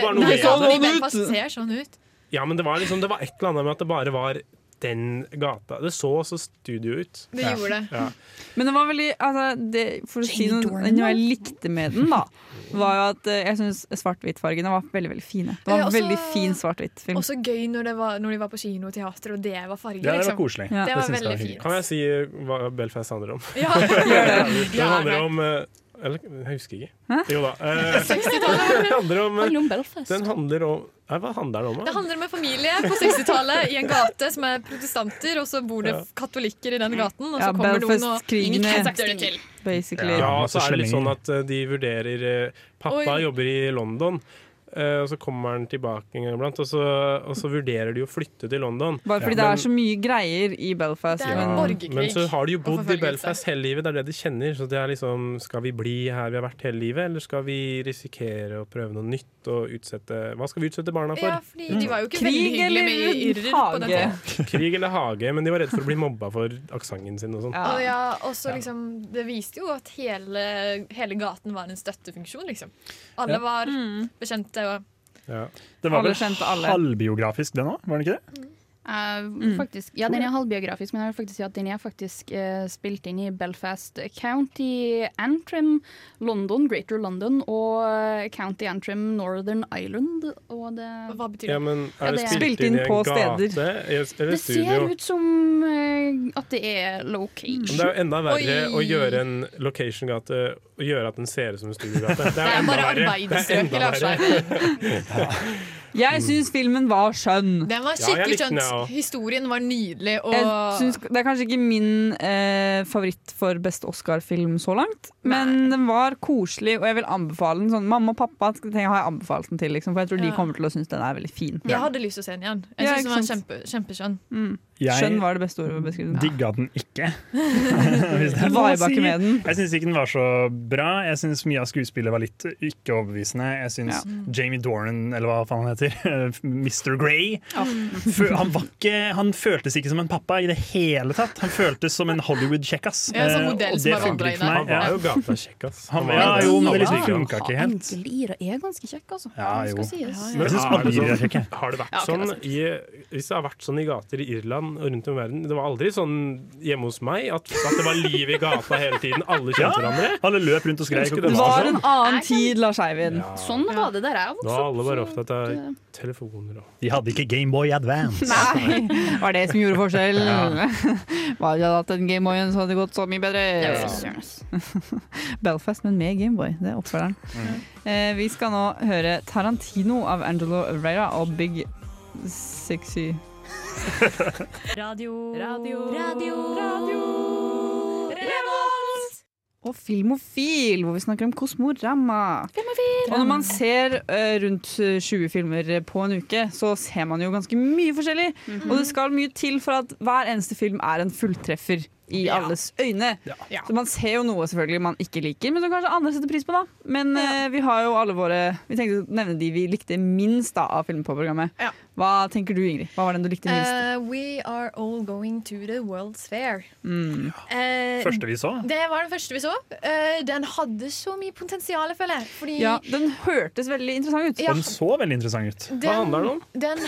var bare noe
nei,
med det.
Belfast ser sånn ut.
Ja, men det var, liksom, det var et eller annet med at det bare var den gata. Det så også studio ut.
Det gjorde det.
Ja.
Men det var veldig altså, det, For å si noe, noe jeg likte med den, da, var jo at eh, jeg syns svart-hvitt-fargene var veldig veldig fine. Det var
Ja,
en
også-
veldig fin svart-hvitt-film.
Også gøy når, det var, når de var på kino og teater, og det var farger.
Ja, det var
liksom.
koselig.
Det var
synes jeg
veldig
hyggelig.
fint.
Kan jeg si eh, hva Belfast handler om?
Ja, gjør
[laughs]
det.
Den handler
Gjerne.
om eh, eller, jeg husker ikke.
Hæ?
Jo da.
[laughs]
eh,
60-tallet.
den [laughs] handler om, eh,
Handler om Belfast.
Den handler om Nei, hva handler den om?
Det
da?
handler om en familie på 60-tallet i en gate som er protestanter, og så bor det
Ja.
katolikker i den gaten, og
Mm.
så
Ja,
kommer noen og
Belfast-krigene.
Ingen setter det til.
Basically.
Ja, og så er det litt sånn at eh, de vurderer eh, Pappa
Oi.
jobber i London, eh, og så kommer han tilbake en gang iblant, og, så- og så vurderer de å flytte til London.
Bare fordi det er så mye greier i Belfast. men-
Men så har de jo bodd i Belfast hele livet, det er det de kjenner. Så det er liksom, skal vi bli her vi har vært hele livet, eller skal vi risikere å prøve noe nytt og utsette Hva skal vi utsette barna for?
Ja, fordi de var jo ikke
Mm. Krig
veldig hyggelige med
eller
irer på den
hage?
tiden.
[laughs] Krig eller hage, men de var redd for å bli mobba for aksenten sin og sånn.
Og ja, og så liksom, det viste jo at hele, hele gaten var en støttefunksjon, liksom.
Ja.
Alle var
Mm.
bekjente og
Det var
Alle
vel
kjente alle.
halvbiografisk, den òg? Var den ikke det?
Eh, faktisk, ja, den er halvbiografisk, men jeg vil faktisk si at den er faktisk eh, spilt inn i Belfast County Antrim, London, Greater London og eh, County Antrim, Northern Island. Og det,
Hva
Ja, men er det spilt inn i en gate i- eller
Det ser
studio? Mm.
ut som eh, at det er
Men
location.
det er jo enda verre å
Oi.
gjøre en location-gate og gjøre at den ser ut som en studiogate.
Det er
enda
bare
verre.
arbeiderstrøk
enda
i Lars
verre.
Jeg syns filmen var skjønn.
Den var skikkelig skjønt. Historien var nydelig, og
Jeg syns, det er kanskje ikke min eh, favoritt for beste Oscar-film så langt, men den var koselig, og jeg vil anbefale den. Sånn, mamma og pappa skal- tenker jeg, har jeg anbefalt den til, liksom, for jeg tror
Ja.
de kommer til å synes den er veldig fin.
jeg hadde lyst til å se den igjen. Jeg
Ja,
synes den
ikke
var kjempe, kjempeskjønn.
Jeg-
Skjønn var det beste ordet å beskrive den.
[laughs] Digga den
[laughs]
ikke. Hvis det er lov å
Viba
si.
ikke med den.
Jeg syns ikke den var så bra. Jeg syns mye av skuespillet var litt ikke overbevisende. Jeg syns
Mm.
Jamie Dornan, eller hva faen han heter, [laughs] Mr. Grey Fø- Han, var ikke, han føltes ikke som en pappa i det hele tatt. Han føltes som en Hollywood-kjekkas.
Ja, som
Eh,
modell
og
som
det
har
funker
vandret
ikke for meg.
Han var
Ja.
jo gatakjekkas.
Han,
Han
ja,
var-
jo, men det
Ja.
liksom funka ikke helt.
Onkel Ira er ganske kjekk, altså.
Ja,
det
jo.
skal sies.
Men jeg synes alle
det
dyr er
sånn,
kjekke.
har det vært
Ja, ok,
sånn
det
i, Hvis det har vært sånn i gater i Irland og rundt om i verden Det var aldri sånn hjemme hos meg at, at det var liv i gata hele tiden. Alle kjente
Ja,
hverandre.
alle løp rundt og skrek og
Husker
koste
det
Det
var
var en
sånn.
annen tid, Lars Eivind.
Sånn eh, var det der jeg
Da
vokste
var
opp.
alle bare opptatt av telefoner og
De hadde ikke Gameboy
[laughs]
Advance.
Nei, det var det som gjorde forskjellen.
Ja.
[laughs] Var det hatt en Gameboy, så hadde det gått så mye bedre.
Ja, fy søren, ass.
Belfast, men med Gameboy. Det er oppfølgeren. Eh, vi skal nå høre Tarantino av Angelo Reyra og Big Sexy
Radio Radio Radio Radio Revolt!
og Filmofil, hvor vi snakker om Kosmorama. Og når man ser eh, rundt 20 filmer på en uke, så ser man jo ganske mye forskjellig.
Mhm.
Og det skal mye til for at hver eneste film er en fulltreffer i alles øyne. Så man ser jo noe selvfølgelig man ikke liker, men som kanskje andre setter pris på, da. Men eh, vi har jo alle våre Vi tenkte å nevne de vi likte minst da, av filmer på programmet. Hva tenker du, Ingrid? Hva var den du likte minst?
Eh, we are all going to the World's Fair.
Mm.
Eh,
Første vi så.
Det var den første vi så. Eh, den hadde så mye potensial, føler jeg. Fordi
Ja, den hørtes veldig interessant ut.
Ja.
Og den så veldig interessant ut.
[laughs] Den,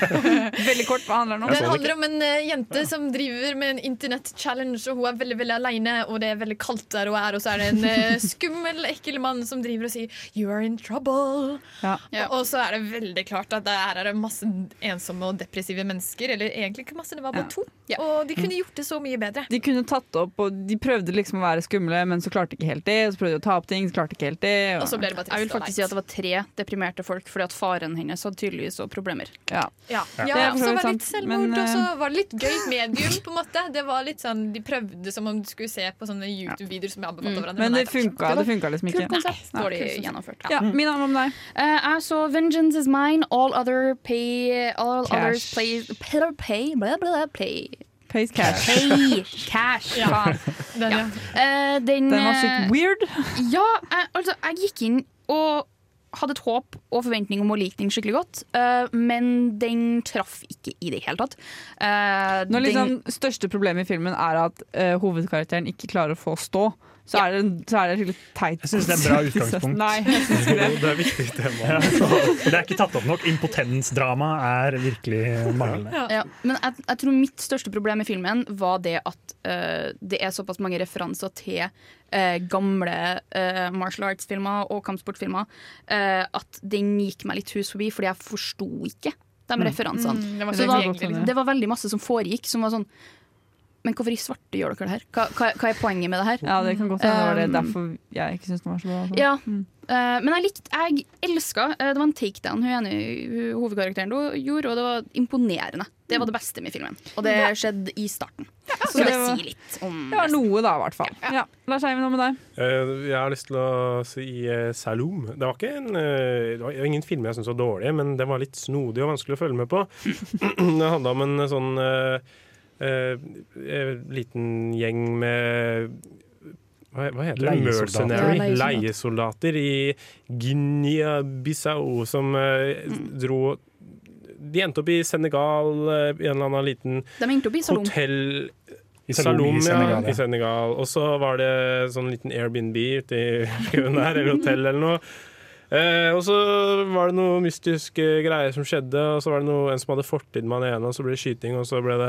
Veldig kort, hva handler den om?
den handler om en eh, jente som driver med en internett-challenge, og hun er veldig veldig aleine, og det er veldig kaldt der hun er, og så er det en
[laughs]
eh, skummel, ekkel mann som driver og sier 'you are in trouble'.
Ja.
Og- Og så er det veldig klart at det her er det masse ensomme og depressive mennesker. Eller egentlig ikke masse, det var bare to. Og de kunne gjort det så mye bedre.
De kunne tatt opp, og de prøvde liksom å være skumle, men så klarte de ikke helt det. Og så prøvde de å ta opp ting, så klarte de ikke helt det.
Jeg vil faktisk si at det var tre deprimerte folk, fordi at faren hennes hadde tydeligvis også problemer.
Ja.
Ja,
Ja.
ja
Det er for
og så
så vidt
var det
sant,
litt selvmord,
men,
og så
eh,
var det litt gøy medium, på en måte. Det var litt sånn, De prøvde som om du skulle se på sånne YouTube-videoer som jeg anbefalte
Mm.
hverandre.
Men
nei
det
takk.
funka, det funka liksom ikke.
Kult konsept.
Nei.
Dårlig
Kult konsept.
gjennomført.
Ja, min arm om deg.
Eh, jeg så 'Vengeance is mine', 'All, other pay, all
Cash.
others play, pay, pay, blah, blah, play.
Pays cash.
Pay, cash.
Ja.
faen.
Den, ja.
Eh, den,
Den var
eh,
sykt weird.
ja, jeg, altså, jeg gikk inn og hadde et håp og forventning om å like den skikkelig godt, eh, men den traff ikke i det hele tatt. Eh,
Når liksom
den-
største problemet i filmen er at eh, hovedkarakteren ikke klarer å få stå, så er det, en- så er det litt teit.
Jeg syns det er en bra utgangspunkt.
Nei, jeg
[laughs]
synes ikke det.
er et viktig [laughs] tema. det er ikke tatt opp nok. Impotensdrama er virkelig manglende.
ja. Men jeg, jeg tror mitt største problem i filmen var det at eh, det er såpass mange referanser til eh, gamle eh, martial arts-filmer og kampsportfilmer eh, at den gikk meg litt hus forbi, fordi jeg forsto ikke de
Mm.
referansene.
Mm, det var
så
egentlig
det, var,
godt å se.
det var veldig masse som foregikk, som var sånn Men hvorfor i svarte gjør dere det her? Hva, hva, hva er poenget med det her?
Ja, det kan godt hende det var det
Um,
derfor jeg ikke syns den var så bra. altså.
ja. Eh, men jeg likte, jeg elska Det var en takedown hun ene hun- hovedkarakteren do- gjorde, og det var imponerende. Det var det beste med filmen, og det skjedde i starten. Så
Så
det
det var-
sier litt om
Det var noe, da, i hvert fall. Ja. Lars Eivind, hva med deg?
Eh, Jeg har lyst til å si eh, Saloom. Det var, ikke en, eh, det var ingen film jeg syntes var dårlig, men det var litt snodig og vanskelig å følge med på. [clears throat] Det handla om en sånn eh, eh, eh, liten gjeng med hva, hva heter det?
Leiesoldater.
Mercenary.
Ja, leiesoldater.
leiesoldater i Guinea-Bissau som eh, dro De endte opp i Senegal, eh, i en eller annen liten
De endte opp i Saloom.
hotell
I Saloom
Salom,
i Senegal,
ja.
ja.
I Senegal. Og så var det sånn liten Airbnb ute i skauen der, eller hotell eller noe. Eh, og så var det noe mystiske greier som skjedde, og så var det noe, en som hadde fortid med han ene, og så ble det skyting, og så ble det,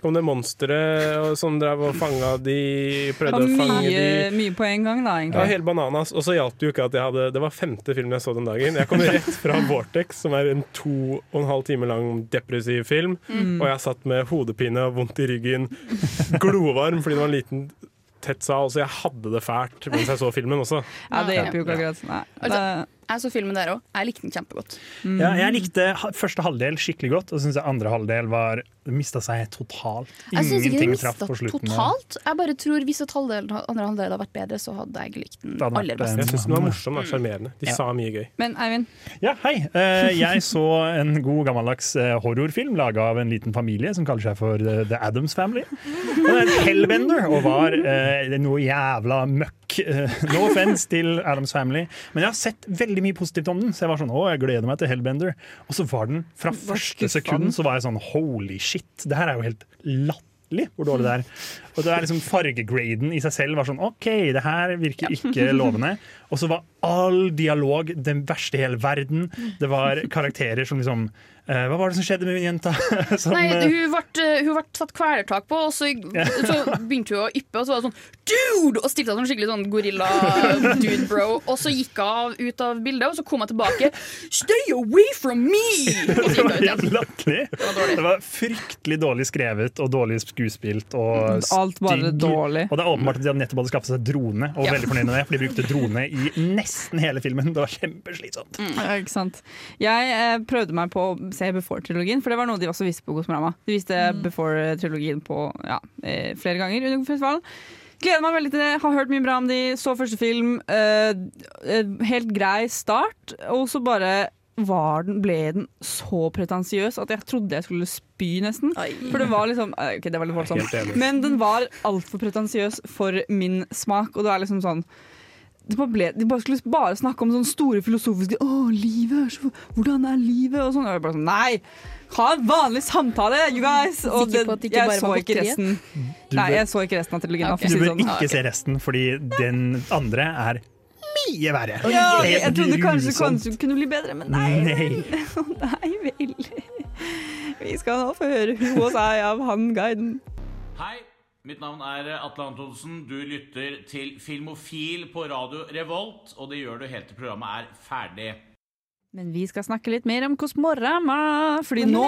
kom det monstre og- som drev og fanga de,
Det
prøvde
var
å fange
mye,
de.
mye på en gang, da,
Ja,
egentlig.
hele bananas. Og så hjalp det jo ikke at jeg hadde Det var femte filmen jeg så den dagen. Jeg kom rett fra
[laughs]
Vortex, som er en to og en halv time lang depressiv film.
Mm.
Og jeg satt med hodepine og vondt i ryggen, glovarm fordi det var en liten, tett sal, så jeg hadde det fælt mens jeg så filmen også.
Ja, det hjelper jo ikke akkurat. Nei.
Altså, jeg så filmen der òg. Jeg likte den kjempegodt.
Ja, jeg likte ha- første halvdel skikkelig godt, og syns andre halvdel var mista seg totalt.
Jeg syns ikke den
Ingenting traff
mista
på slutten.
totalt. Jeg bare tror hvis et halvdel, andre halvdel hadde vært bedre, så hadde jeg likt den
Det hadde vært,
aller
eh,
best.
Jeg syns den var morsom og sjarmerende. De
Ja.
sa mye gøy.
Men Eivind,
Ja, hei. Eh, jeg så en god gammeldags eh, horrorfilm laga av en liten familie som kaller seg for eh, The Adams Family. Og det er en hellbender og var eh, noe jævla møkk. Eh, no offense til Adams Family, men jeg har sett veldig mye positivt om den. Så jeg var sånn, å, jeg gleder meg til Hellbender. Og så var den fra første sekund så var jeg sånn holy shit, det her er jo helt latterlig hvor dårlig det er. Og det er liksom Fargegraden i seg selv var sånn OK, det her virker ikke lovende. Og så var all dialog den verste i hele verden. Det var karakterer som liksom eh, Hva var det som skjedde med min jenta? [laughs] som,
Nei,
eh,
hun ble, hun ble tatt kvelertak på, og så, [laughs] så begynte hun å yppe. Og så var det sånn dude! Og stifta sånn skikkelig sånn
[laughs]
gorilla-dude-bro. Og så gikk hun av, ut av bildet, og så kom hun tilbake. Stay away from me! Og
Det
så gikk
var
hun
[laughs]
ut igjen.
helt latterlig. Det var fryktelig dårlig skrevet og dårlig skuespilt. Og
Mm, Alt bare
stygg.
dårlig.
Og det er åpenbart at de hadde nettopp hadde skaffet seg drone, og
Ja.
veldig fornøyd med det, for de brukte drone i nesten hele filmen. Det var kjempeslitsomt.
Ja, ikke sant. Jeg eh, prøvde meg på å se Before-trilogien, for det var noe de også viste på Kosmorama. De viste Before-trilogien på ja, eh, flere ganger under festivalen. Gleder meg veldig til det. Har hørt mye bra om de. Så første film. Eh, eh, helt grei start, og så bare var den, ble den så pretensiøs at jeg trodde jeg skulle spy, nesten. For det var liksom eh, OK, det var litt
Helt enig.
voldsomt. Men den var altfor pretensiøs for min smak, og det er liksom sånn det bare ble, de bare skulle bare snakke om sånne store filosofiske Å, livet er så Hvordan er livet? Og sånn. Og jeg bare sånn Nei! Ha en vanlig samtale, you guys! Og det,
Sikker på at det ikke bare
jeg så
var
ikke
godteriet?
resten.
Mm. Du
Nei,
bør-
jeg så ikke resten av trilogien. da, for
Du
å si det
bør
sånn.
ikke se resten, fordi den andre er mye verre.
Ja, ok, jeg
Helt
trodde kanskje,
grusomt.
kanskje det kunne bli bedre, men nei.
Nei.
[laughs] Nei vel. Vi skal nå få høre hun og seg av han guiden.
Hei, mitt navn er Atle Antonsen. Du lytter til Filmofil på Radio Revolt, og det gjør du helt til programmet er ferdig.
Men vi skal snakke litt mer om Kosmorama, fordi nå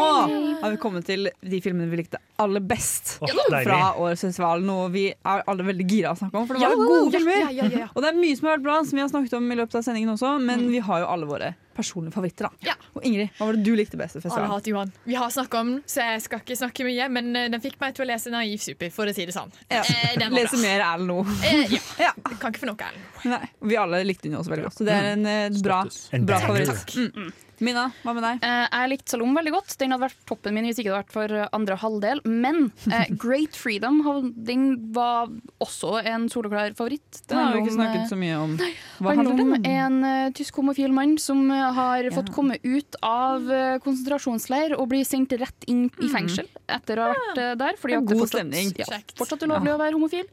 har vi kommet til de filmene vi likte aller best
Åh, deilig.
fra årets festival. Noe vi er alle veldig gira å snakke om, for det var
Ja,
gode
ja,
filmer.
ja, ja, [laughs] ja.
Og det er mye som har vært bra, som vi har snakket om i løpet av sendingen også, men vi har jo alle våre personlige favoritter, da. Og Ingrid, hva var det du likte best i
Alle
festivalen?
hater Johan. Vi har snakka om den, så jeg skal ikke snakke mye. Men eh, den fikk meg til å lese Naiv super, for å si det sånn. Eh, den var
Lese
bra.
mer Erlend [laughs] Loe.
Eh, ja. Kan ikke få noe, Erlend.
Mm.
Nei, Vi alle likte den jo også veldig godt, så det er en eh, bra,
En
bra
banger.
favoritt. Mm.
Mina, hva med deg?
Eh, jeg likte Salom veldig godt. Den hadde vært toppen min hvis ikke det hadde vært for eh, andre halvdel. Men
[laughs]
eh, Great Freedom hav- den var også en soleklar favoritt.
Den har vi ikke
handler om,
snakket så mye om.
eh,
Hva handler den om?
En eh, tysk homofil mann som eh, har fått komme ut av eh, konsentrasjonsleir og blir sendt rett inn i fengsel etter å ha vært eh, der. Fordi
Mm. Det er
at det
god
fortsatt,
stemning.
Ja,
Kjekt.
fortsatt ulovlig å være homofil.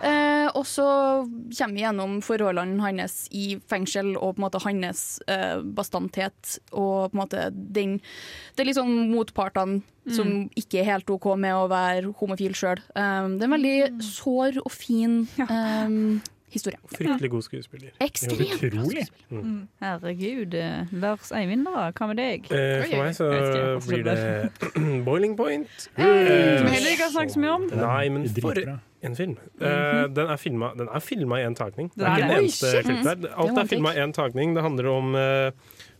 Eh, og så kommer vi gjennom forholdene hans i fengsel og på en måte hans eh, bastanthet og på en måte den Det er litt sånn motpartene som
Mm.
ikke er helt OK med å være homofil sjøl. Um, det er en veldig
Mm.
sår og fin um, historie.
Fryktelig god skuespiller.
Ekstremt bra
Utrolig. Mm.
Herregud. eh, Lars Eivind, da? Hva med deg?
Eh, for meg så
Jeg vet ikke,
blir det [clears throat] Boiling Point.
Hey, som
Eh,
vi heller ikke har snakket så mye om.
Nei, men for
Dritbra.
en film. Eh, den er filma- den er filma i én takning. Det
Mhm. Den
er
er
ikke en
det. Oi,
eneste
shit.
klipp der.
Det var
Alt
en
er filma i én takning. Det handler om eh,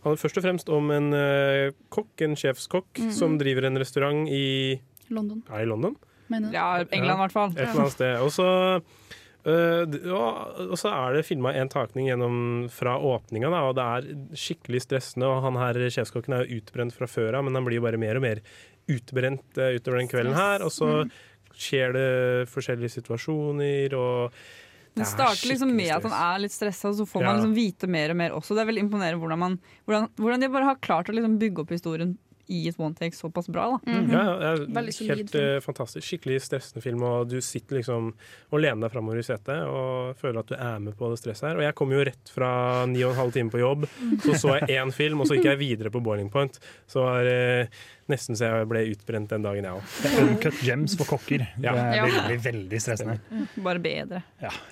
handler først og fremst om en eh, kokk, en sjefskokk,
Mhm.
som driver en restaurant i
London.
Er det i London?
Ja, England, i hvert fall.
Et eller annet sted. Og så, øh, d- og- og så er det filma en takning gjennom fra åpninga, da, og det er skikkelig stressende. Og han her sjefskokken er jo utbrent fra før av, men han blir jo bare mer og mer utbrent øh, utover den kvelden her. Og så
Mm.
skjer det forskjellige situasjoner, og
Den
det er
starter liksom
skikkelig
med at han
stress.
er litt stressa, og så får
Ja.
man liksom vite mer og mer også. Det er veldig imponerende hvordan, man, hvordan, hvordan de bare har klart å liksom bygge opp historien i et one take såpass bra. Da.
Ja, ja, det
Mhm. Veldig
er
solid
helt
film.
eh, fantastisk. Skikkelig stressende film, og du sitter liksom og lener deg framover i setet og føler at du er med på det stresset her. Og jeg kom jo rett fra ni og en halv time på jobb,
Mhm.
så så jeg én film, og så gikk jeg videre på Boiling Point. Så var eh, nesten så jeg ble utbrent den dagen, jeg
Det
òg.
er Uncut gems for kokker. Det er
Ja. Mm,
veldig, veldig stressende.
Bare bedre.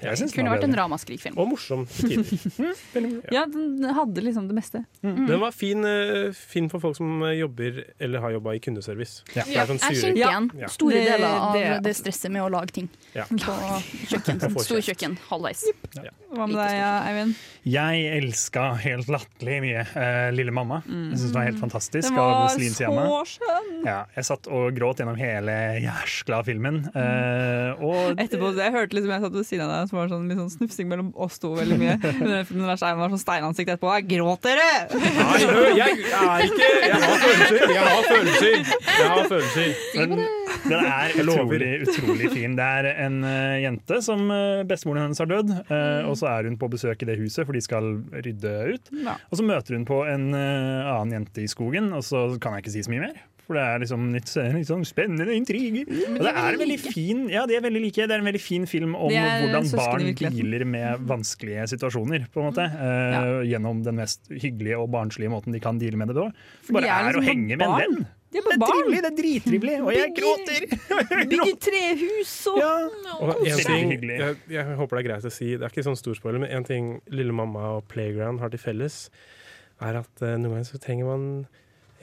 jeg synes den
Kunne
var
vært en
bedre.
ramaskrikfilm.
Og morsom til tider.
Ja, den hadde liksom det meste.
Den var fin, eh, fin for folk som eh, jobber eller har jobba i kundeservice. Det er sånn
jeg
sure-
kjente igjen
Ja.
store
Det-
deler av det,
det-
stresset med å lage ting.
Ja.
På kjøkken.
Jeg får
Storkjøkken. Halvveis.
Hva med deg, Eivind?
Jeg elska helt latterlig mye eh, Lille mamma. Jeg synes det var helt fantastisk.
Mm. Den
av
var
Celine
så
Sciamma.
skjønn!
Ja, jeg satt og gråt gjennom hele jæskla-filmen.
Mm.
eh, og
Etterpå, jeg hørte liksom, jeg satt ved siden av deg, som var sånn, litt sånn snufsing mellom oss to veldig
[laughs]
mye. Men den filmen der, så Eivind var sånn steinansikt etterpå. Jeg gråter, dere!
Nei, hør, jeg er ikke Jeg har følelser! Jeg har følelser! Jeg har følelser.
Men den er
Jeg lover.
utrolig, utrolig fin. Det er en eh, jente som eh, bestemoren hennes har dødd, eh,
Mm.
og så er hun på besøk i det huset, for de skal rydde ut.
Ja.
Og så møter hun på en eh, annen jente i skogen, og så kan jeg ikke si så mye mer. For det er liksom litt, [laughs] litt sånn spennende intriger. Og det er en veldig fin ja, de er veldig like. Det er en veldig fin film om
De er Mm.
hvordan
søsken i
barn
virkeligheten.
dealer med vanskelige situasjoner, på en måte.
Mm.
eh, Gjennom den mest hyggelige og barnslige måten de kan deale med det på.
For
Bare
de er
er,
liksom
å
på
henge med
barn.
en venn.
De er bare barn.
trivelig, det er drittrivelig, og jeg gråter! [laughs]
Bygger trehus og
Og en
koser seg.
ting, jeg, jeg håper det er greit å si, det er ikke sånn stor spoiler, men en ting Lille mamma og Playground har til felles, er at eh, noen ganger så trenger man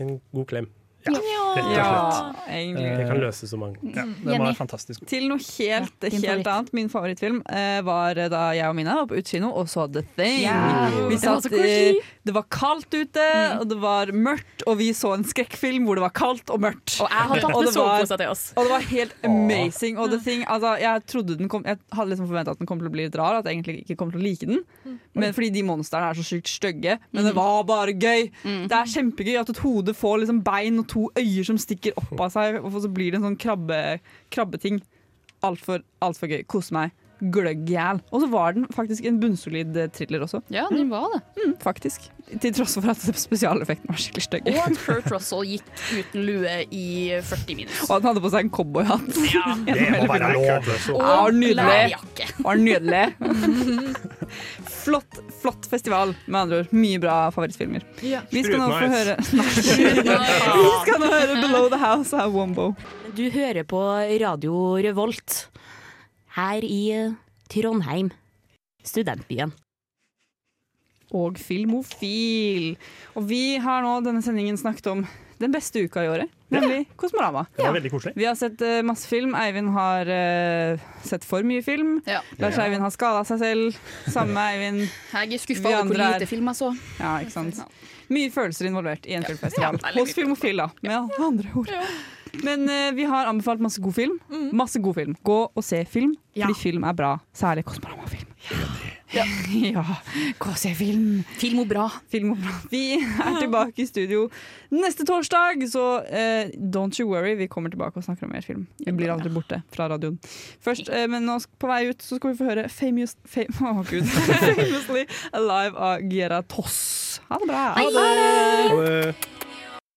en god klem.
Ja,
rett og
Ja,
slett.
egentlig.
Det kan løse så mange.
Ja, den var Enig.
fantastisk.
Til noe helt,
din favoritt.
helt annet. Min favorittfilm eh, var eh, da jeg og Mina var på utekino og så The Thing.
Ja,
Vi
det
satt,
var så Mm. koselig.
eh, det var kaldt ute, og det var mørkt, og vi så en skrekkfilm hvor det var kaldt og mørkt. Og
jeg har tatt med
det var-
sovepose til oss.
Og det var helt amazing. Og The Thing, altså, jeg, trodde den kom, jeg hadde liksom forventa at den kom til å bli litt rar, at jeg egentlig ikke kom til å like den. Men fordi de monstrene er så sykt stygge. Men det var bare gøy! Det er kjempegøy at et hode får liksom bein og to øyer som stikker opp av seg, og så blir det en sånn krabbe, krabbeting. Altfor alt for gøy. Kose meg. Gløgg i hjel. Og så var den faktisk en bunnsolid eh, thriller også.
Ja, den var det.
Mm, faktisk. Til tross for at [laughs] spesialeffekten var skikkelig stygg.
Og at Kurt Russell gikk uten lue i 40 minus.
Og han hadde på seg en cowboyhatt. Ja,
det må være lov.
Ja, nydelig.
lærjakke.
Ja, [laughs] nydelig. flott, flott festival, med andre ord. Mye bra favorittfilmer.
Ja.
Vi skal nå få [laughs] høre
Sprut
Nei. Vi skal nå høre 'Below the House' av Wombo.
Du hører på Radio Revolt her i eh, Trondheim, studentbyen.
Og Filmofil. Og vi har nå denne sendingen snakket om den beste uka i året, nemlig Kosmorama.
Det var veldig koselig.
Vi har sett eh, masse film. Eivind har eh, sett for mye film. Lars
Ja.
Eivind har skada seg selv. Samme Eivind.
Jeg er
Vi
skuffa over hvor
andre er-
lite film jeg så.
Ja, ikke sant. Mye følelser involvert i en filmfestival.
Ja, veldig
Hos Filmofil, da, med andre ord. Men eh, vi har anbefalt masse god film. Masse god film. Gå og se film, fordi film er bra. Særlig Kosmorama-film. Ja. [laughs] KC-film.
Film og bra.
Film og bra. Vi er tilbake i studio neste torsdag, så eh, don't you worry. Vi kommer tilbake og snakker om mer film. Vi blir aldri borte fra radioen. Først, eh, men nå, sk- på vei ut så skal vi få høre Famous, [laughs] fam Å, Gud. Famously Alive av Giera Toss. Ha det bra.
eh,
Ha det.